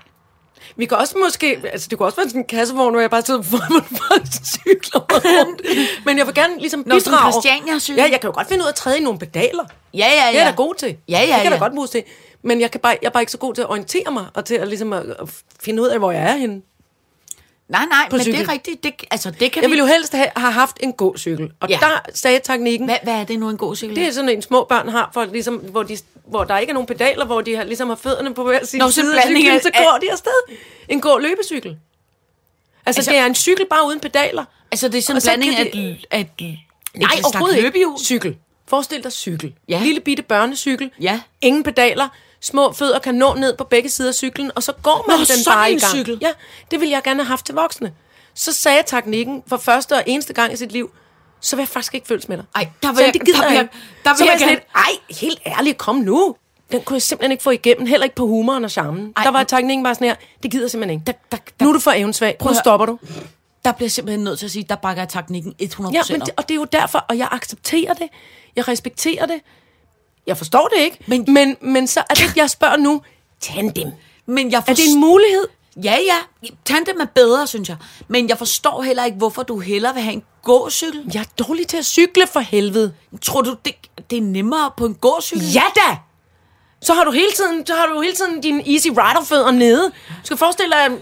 Speaker 4: Vi kan også måske, altså det kunne også være sådan en kassevogn, hvor jeg bare sidder foran og cykler rundt. Men jeg vil gerne ligesom
Speaker 3: Nå,
Speaker 4: bidrage.
Speaker 3: sådan en Christiania-cykel.
Speaker 4: Ja, jeg kan jo godt finde ud af at træde i nogle pedaler.
Speaker 3: Ja, ja, ja.
Speaker 4: Det er jeg da god til.
Speaker 3: Ja, ja,
Speaker 4: det kan jeg
Speaker 3: ja.
Speaker 4: da godt bruge til. Men jeg, kan bare, jeg er bare ikke så god til at orientere mig, og til at, ligesom at, at finde ud af, hvor jeg er henne.
Speaker 3: Nej, nej,
Speaker 4: På
Speaker 3: men det er
Speaker 4: cykel.
Speaker 3: rigtigt. Det, altså, det kan
Speaker 4: Jeg
Speaker 3: vi...
Speaker 4: ville jo helst have, have haft en gåcykel. Og
Speaker 3: Ja.
Speaker 4: ja. der sagde teknikken,
Speaker 3: Hvad, hvad er det nu, en god cykel?
Speaker 4: det er sådan en små børn har, for ligesom, hvor, de, hvor der ikke er nogen pedaler, hvor de har, ligesom har fødderne på hver sin
Speaker 3: Nå, så
Speaker 4: side af
Speaker 3: blanding
Speaker 4: cyklen,
Speaker 3: af-
Speaker 4: så går de afsted. En gå-løbecykel. Altså,
Speaker 3: Altså-
Speaker 4: altså, det er en cykel bare uden pedaler.
Speaker 3: Altså, det er sådan
Speaker 4: Og
Speaker 3: en
Speaker 4: så
Speaker 3: blanding af...
Speaker 4: kan
Speaker 3: et- af et-
Speaker 4: Nej,
Speaker 3: et slags
Speaker 4: overhovedet ikke.
Speaker 3: løbehjul.
Speaker 4: Cykel. Forestil dig cykel.
Speaker 3: Ja.
Speaker 4: Lille bitte børnecykel.
Speaker 3: Ja.
Speaker 4: Ingen pedaler. Små fødder kan nå ned på begge sider af cyklen, og så går man
Speaker 3: Nå,
Speaker 4: den
Speaker 3: sådan
Speaker 4: bare i
Speaker 3: en
Speaker 4: gang.
Speaker 3: cykel.
Speaker 4: Ja, det ville jeg gerne have haft til voksne. Så sagde teknikken for første og eneste gang i sit liv, så vil jeg faktisk ikke følges med dig.
Speaker 3: Ej, der vil
Speaker 4: så
Speaker 3: jeg-
Speaker 4: det gider
Speaker 3: der vil jeg-
Speaker 4: jeg, ikke.
Speaker 3: der vil
Speaker 4: så var
Speaker 3: jeg
Speaker 4: sådan
Speaker 3: gerne-
Speaker 4: lidt, ej, helt ærligt, kom nu. Den kunne jeg simpelthen ikke få igennem, heller ikke på humoren og charmen.
Speaker 3: Ej,
Speaker 4: Ej, der var
Speaker 3: men-
Speaker 4: teknikken bare sådan her, det gider jeg simpelthen ikke.
Speaker 3: Der- der- der-
Speaker 4: nu er du for evensvag,
Speaker 3: at
Speaker 4: nu
Speaker 3: høre.
Speaker 4: stopper du.
Speaker 3: Der bliver jeg simpelthen nødt til at sige, der bakker jeg teknikken 100%
Speaker 4: Ja, men det, og det er jo derfor, og jeg accepterer det, jeg respekterer det, jeg forstår det ikke,
Speaker 3: Men-
Speaker 4: men, men, men så er det, jeg spørger nu, tandem.
Speaker 3: men jeg
Speaker 4: Er det
Speaker 3: forst-
Speaker 4: en mulighed?
Speaker 3: Ja, ja. Tandem er bedre, synes jeg. Men jeg forstår heller ikke, hvorfor du hellere vil have en gåcykel.
Speaker 4: Jeg er dårlig til at cykle for helvede.
Speaker 3: Tror du, det, det er nemmere på en gåcykel?
Speaker 4: Ja da! Så har du hele tiden, så har du hele tiden din easy rider fødder nede. Du skal forestille dig,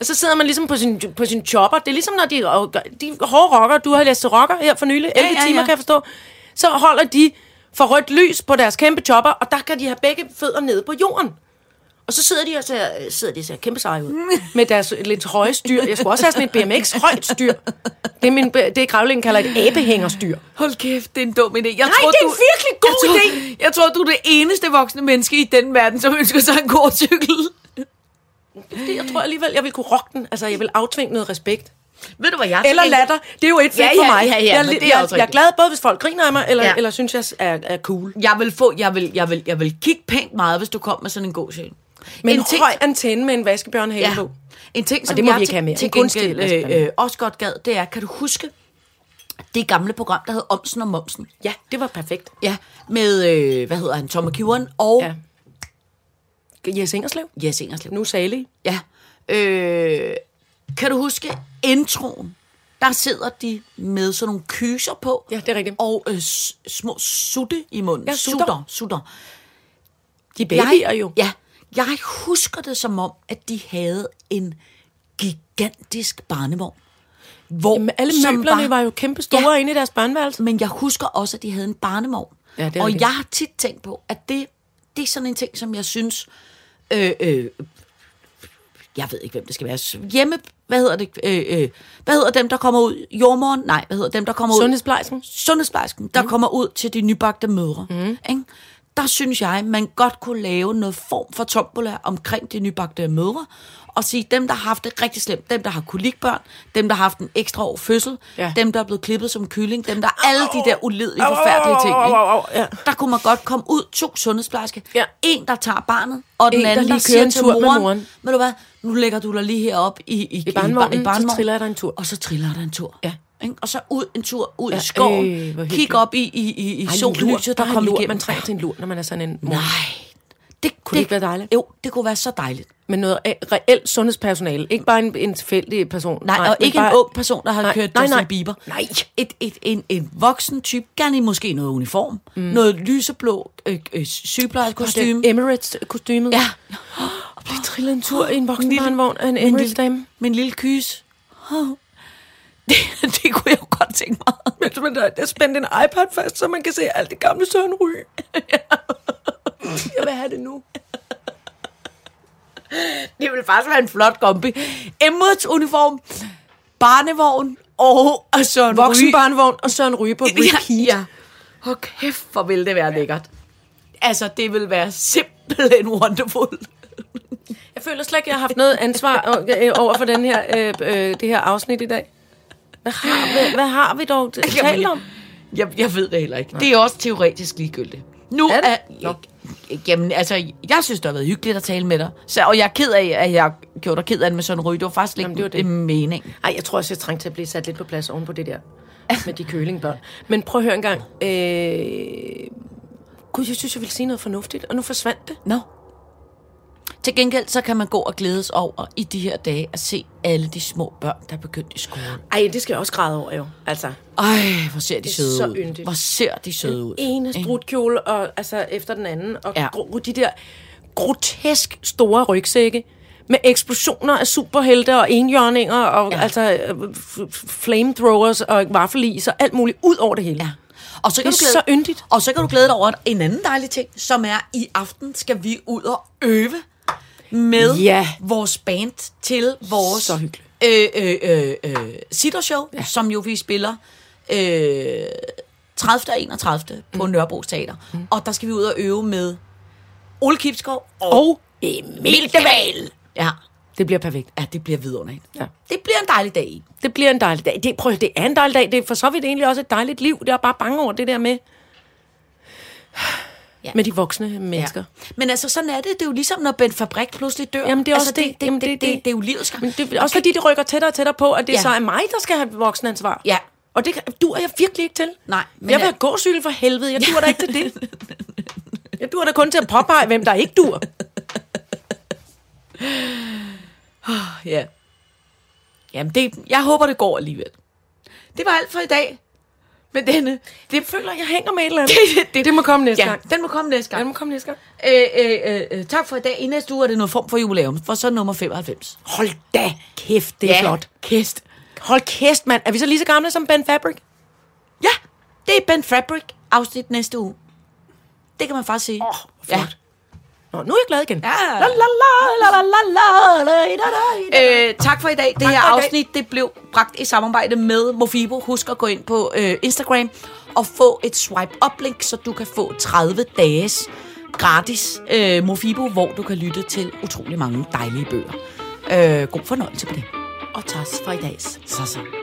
Speaker 4: at så sidder man ligesom på sin, på sin chopper. Det er ligesom, når de, og- de hårde rocker, du har læst til rocker her for nylig, 11 ja,
Speaker 3: ja,
Speaker 4: ja, timer,
Speaker 3: ja.
Speaker 4: kan jeg forstå, så holder de for rødt lys på deres kæmpe chopper, og der kan de have begge fødder nede på jorden. Og så sidder de og ser, sidder de og ser kæmpe seje ud. Med deres lidt høje styr. Jeg skulle også have sådan et BMX højt styr. Det er min, det Gravlingen kalder et abehængerstyr.
Speaker 3: Hold kæft, det er en dum idé. Jeg
Speaker 4: Nej, det er en virkelig god
Speaker 3: jeg tror,
Speaker 4: idé.
Speaker 3: Jeg tror, du er det eneste voksne menneske i den verden, som ønsker sig en gåcykel.
Speaker 4: Det, jeg tror alligevel, jeg vil kunne rocke den. Altså, jeg vil aftvinge noget respekt.
Speaker 3: Ved du, hvad jeg
Speaker 4: Eller latter. Det er jo et fedt
Speaker 3: Altså, Ja, ja,
Speaker 4: for mig.
Speaker 3: ja, ja,
Speaker 4: jeg,
Speaker 3: men det er
Speaker 4: jeg,
Speaker 3: også
Speaker 4: jeg er
Speaker 3: rigtigt.
Speaker 4: glad både, hvis folk griner af mig, eller,
Speaker 3: Ja.
Speaker 4: ja. eller synes, jeg er, er cool.
Speaker 3: Jeg vil, få, jeg, vil, jeg, vil, jeg vil kigge pænt meget, hvis du kom med sådan en gåcykel.
Speaker 4: Men en høj antenne med en vaskebjørn ja. på.
Speaker 3: En ting, som
Speaker 4: det må
Speaker 3: jeg
Speaker 4: vi ikke have mere.
Speaker 3: til
Speaker 4: En kunstig
Speaker 3: gengæld øh,
Speaker 4: lastbil.
Speaker 3: øh, også godt gad, det er, kan du huske det gamle program, der hed Omsen og Momsen?
Speaker 4: Ja, det var perfekt.
Speaker 3: Ja, med, øh, hvad hedder han, Tom McEwan og ja.
Speaker 4: Ja. Jes Ingerslev.
Speaker 3: Jes Ingerslev.
Speaker 4: Nu salig.
Speaker 3: Ja. Øh, kan du huske introen? Der sidder de med sådan nogle kyser på.
Speaker 4: Ja, det er rigtigt.
Speaker 3: Og øh, s- små sutte i munden.
Speaker 4: Ja, sutter.
Speaker 3: sutter. sutter.
Speaker 4: De babyer jo.
Speaker 3: Ja, jeg husker det som om, at de havde en gigantisk barnevogn. Hvor,
Speaker 4: Jamen, alle
Speaker 3: som
Speaker 4: møblerne var jo kæmpe store ja. inde i deres barneværelse.
Speaker 3: Men jeg husker også, at de havde en barnevogn.
Speaker 4: Ja, det er
Speaker 3: og
Speaker 4: det.
Speaker 3: jeg har tit tænkt på, at det, det er sådan en ting, som jeg synes... Øh, øh, jeg ved ikke, hvem det skal være. Hjemme, hvad hedder det? Øh, øh, hvad hedder dem, der kommer ud? Jordmoren? Nej, hvad hedder dem, der kommer ud?
Speaker 4: Sundhedsplejersken?
Speaker 3: Sundhedsplejersken, der mm. kommer ud til de nybagte mødre. Mm. Ikke? Der synes jeg, man godt kunne lave noget form for tombola omkring de nybagte mødre, og sige, dem, der har haft det rigtig slemt, dem, der har kolikbørn, dem, der har haft en ekstra år fødsel,
Speaker 4: Ja.
Speaker 3: ja. dem, der er blevet klippet som kylling, dem, der alle de der ulidelige, forfærdelige ting.
Speaker 4: au,
Speaker 3: Ikke?
Speaker 4: au, au, ja.
Speaker 3: Der kunne man godt komme ud, to sundhedsplejersker,
Speaker 4: Ja.
Speaker 3: en, der tager barnet, og den
Speaker 4: En, der
Speaker 3: anden, der, der
Speaker 4: lige kører
Speaker 3: siger
Speaker 4: en
Speaker 3: til
Speaker 4: tur med
Speaker 3: moren,
Speaker 4: moren.
Speaker 3: ved du hvad, nu lægger du dig lige herop i, i, i,
Speaker 4: barnevognen,
Speaker 3: i
Speaker 4: så
Speaker 3: barnevognen,
Speaker 4: triller der en tur.
Speaker 3: Og så triller der en tur.
Speaker 4: Ja.
Speaker 3: Ikke? Og så ud en tur ud ja,
Speaker 4: Ja,
Speaker 3: i skoven.
Speaker 4: øh, hvor
Speaker 3: Øh,
Speaker 4: hyggeligt.
Speaker 3: Kig op i, i, i, i
Speaker 4: Ej,
Speaker 3: sollyset, der,
Speaker 4: er en
Speaker 3: kommer
Speaker 4: lur.
Speaker 3: igennem.
Speaker 4: Man trænger til en lur, når man er sådan en mor.
Speaker 3: Nej. Det,
Speaker 4: Kunne det ikke være dejligt?
Speaker 3: Jo, det kunne være så dejligt.
Speaker 4: Men noget af- reelt sundhedspersonale. Ikke bare en, en tilfældig person.
Speaker 3: Nej, nej og
Speaker 4: men
Speaker 3: ikke bare... en
Speaker 4: bare-
Speaker 3: ung person, der har
Speaker 4: Nej,
Speaker 3: kørt
Speaker 4: nej,
Speaker 3: Justin
Speaker 4: nej.
Speaker 3: Bieber.
Speaker 4: Nej.
Speaker 3: Et, et, en, en voksen type, gerne i måske noget uniform. Mm. Noget lyseblå øh, øh, sygeplejekostyme.
Speaker 4: Kostyme. Emirates-kostymet.
Speaker 3: Ja.
Speaker 4: Og blive trillet en tur i en
Speaker 3: Min lille-
Speaker 4: voksenbarnvogn af en
Speaker 3: min lille-
Speaker 4: Emirates-dame.
Speaker 3: Med en lille kys. Det, det kunne jeg jo godt tænke mig.
Speaker 4: Mens man der, der spændte en iPad fast, så man kan se alt det gamle Søren Ry. Jeg vil have det nu.
Speaker 3: Det ville faktisk være en flot kombi. Emirates uniform, barnevogn og, og Søren Ryge.
Speaker 4: Voksenbarnvogn og Søren Ryge på repeat.
Speaker 3: Ja, ja. Hvor kæft, hvor ville det være lækkert. Altså, det ville være simpelthen wonderful.
Speaker 4: Jeg føler slet ikke, jeg har haft noget ansvar o- øh, over for den her, øh, øh, det her afsnit i dag. Hvad har, hvad, hvad har vi dog t- talt om?
Speaker 3: Jeg, jeg ved det heller ikke. Nej. Det er også teoretisk ligegyldigt. Nu
Speaker 4: Er
Speaker 3: er,
Speaker 4: det?
Speaker 3: er Jamen, altså, jeg synes, det har været hyggeligt at tale med dig. Så, og jeg er ked af, at jeg gjorde dig ked af det med sådan en ryg. Det var faktisk ikke
Speaker 4: Jamen, det var det.
Speaker 3: mening.
Speaker 4: Ej, jeg tror også, jeg trængte til at blive sat lidt på plads oven på det der med de kølingbørn. Men prøv at høre en gang. Øh, Gud, jeg synes, jeg ville sige noget fornuftigt, og nu forsvandt det.
Speaker 3: Nå. No. Til gengæld, så kan man gå og glædes over i de her dage at se alle de små børn, der er begyndt i skole.
Speaker 4: Ej, det skal jeg også græde over, jo. Altså,
Speaker 3: Ej, hvor ser de
Speaker 4: er
Speaker 3: søde
Speaker 4: så
Speaker 3: ud.
Speaker 4: yndigt.
Speaker 3: Hvor ser de søde ud.
Speaker 4: ene strutkjole, og altså efter den anden, og
Speaker 3: Ja.
Speaker 4: ja. gro, de der grotesk store rygsække, med eksplosioner af superhelte og enhjørninger, og ja. altså øh, f- f- flamethrowers og vaffelis og alt muligt ud over det hele.
Speaker 3: Ja. Og så kan
Speaker 4: Det
Speaker 3: du
Speaker 4: er
Speaker 3: glæde,
Speaker 4: så yndigt.
Speaker 3: Og så kan du glæde dig over en anden dejlig ting, som er, i aften skal vi ud og øve med
Speaker 4: Ja.
Speaker 3: vores band til vores
Speaker 4: Så hyggeligt.
Speaker 3: øh, øh, øh, øh, sittershow, ja. som jo vi spiller øh, 30. og 31. på Nørrebro Teater. Mm. Og der skal vi ud og øve med Ole Kipskov og,
Speaker 4: Og
Speaker 3: Emil Deval. Ja.
Speaker 4: det bliver perfekt.
Speaker 3: ja, det bliver vidunderligt.
Speaker 4: Ja.
Speaker 3: Det bliver en dejlig dag. I.
Speaker 4: Det bliver en dejlig dag. Det, prøv, at høre, det er en dejlig dag. Det er for så vidt egentlig også et dejligt liv. Det er bare bange over det der med... Ja.
Speaker 3: Ja.
Speaker 4: Med de voksne mennesker. Ja.
Speaker 3: Men altså, sådan er det. Det er jo ligesom, når Ben Fabrik pludselig dør.
Speaker 4: Jamen, det er
Speaker 3: altså,
Speaker 4: også det.
Speaker 3: Det, det,
Speaker 4: Jamen,
Speaker 3: det,
Speaker 4: det-
Speaker 3: det, det,
Speaker 4: det-
Speaker 3: det er jo livets gang.
Speaker 4: Men det er også fordi, det rykker tættere og tættere på, at det ja.
Speaker 3: Ja.
Speaker 4: så er mig, der skal have voksenansvar.
Speaker 3: Ja.
Speaker 4: Og det duer jeg virkelig ikke til.
Speaker 3: Nej,
Speaker 4: Men
Speaker 3: men
Speaker 4: jeg vil
Speaker 3: er-
Speaker 4: have gåsyl for helvede. Jeg duer da ikke til det. Jeg duer da kun til at påpege, hvem der ikke duer.
Speaker 3: Ja. Jamen, det, jeg håber, det går alligevel. Det var alt for i dag. Men denne, det føler jeg...
Speaker 4: Jeg hænger med et eller andet. Det, det, det må komme næste
Speaker 3: Ja,
Speaker 4: gang.
Speaker 3: den må komme næste
Speaker 4: Den må
Speaker 3: gang.
Speaker 4: komme næste gang.
Speaker 3: Øh, øh, øh, øh, tak for i dag. I næste uge er det noget form for jubilæum, for så er nummer 95.
Speaker 4: Hold da kæft, det er ja. flot.
Speaker 3: Kæft.
Speaker 4: Hold kæft, mand. Er vi så lige så gamle som Ben Fabric?
Speaker 3: Ja, det er Ben Fabric afsnit næste uge. Det kan man faktisk sige.
Speaker 4: Åh, oh, flot. Ja. Nå, nu er jeg glad igen.
Speaker 3: Ja. La, la, la, la, la, la, la, la, la, la, la. Øh, tak for i dag. Det her
Speaker 4: for i dag.
Speaker 3: afsnit det blev bragt i samarbejde med Mofibo. Husk at gå ind på øh, Instagram og få et swipe up link, så du kan få 30 dages gratis øh, Mofibo, hvor du kan lytte til utrolig mange dejlige bøger. Øh, god fornøjelse på det.
Speaker 4: Og tak for i dag.
Speaker 3: Så så.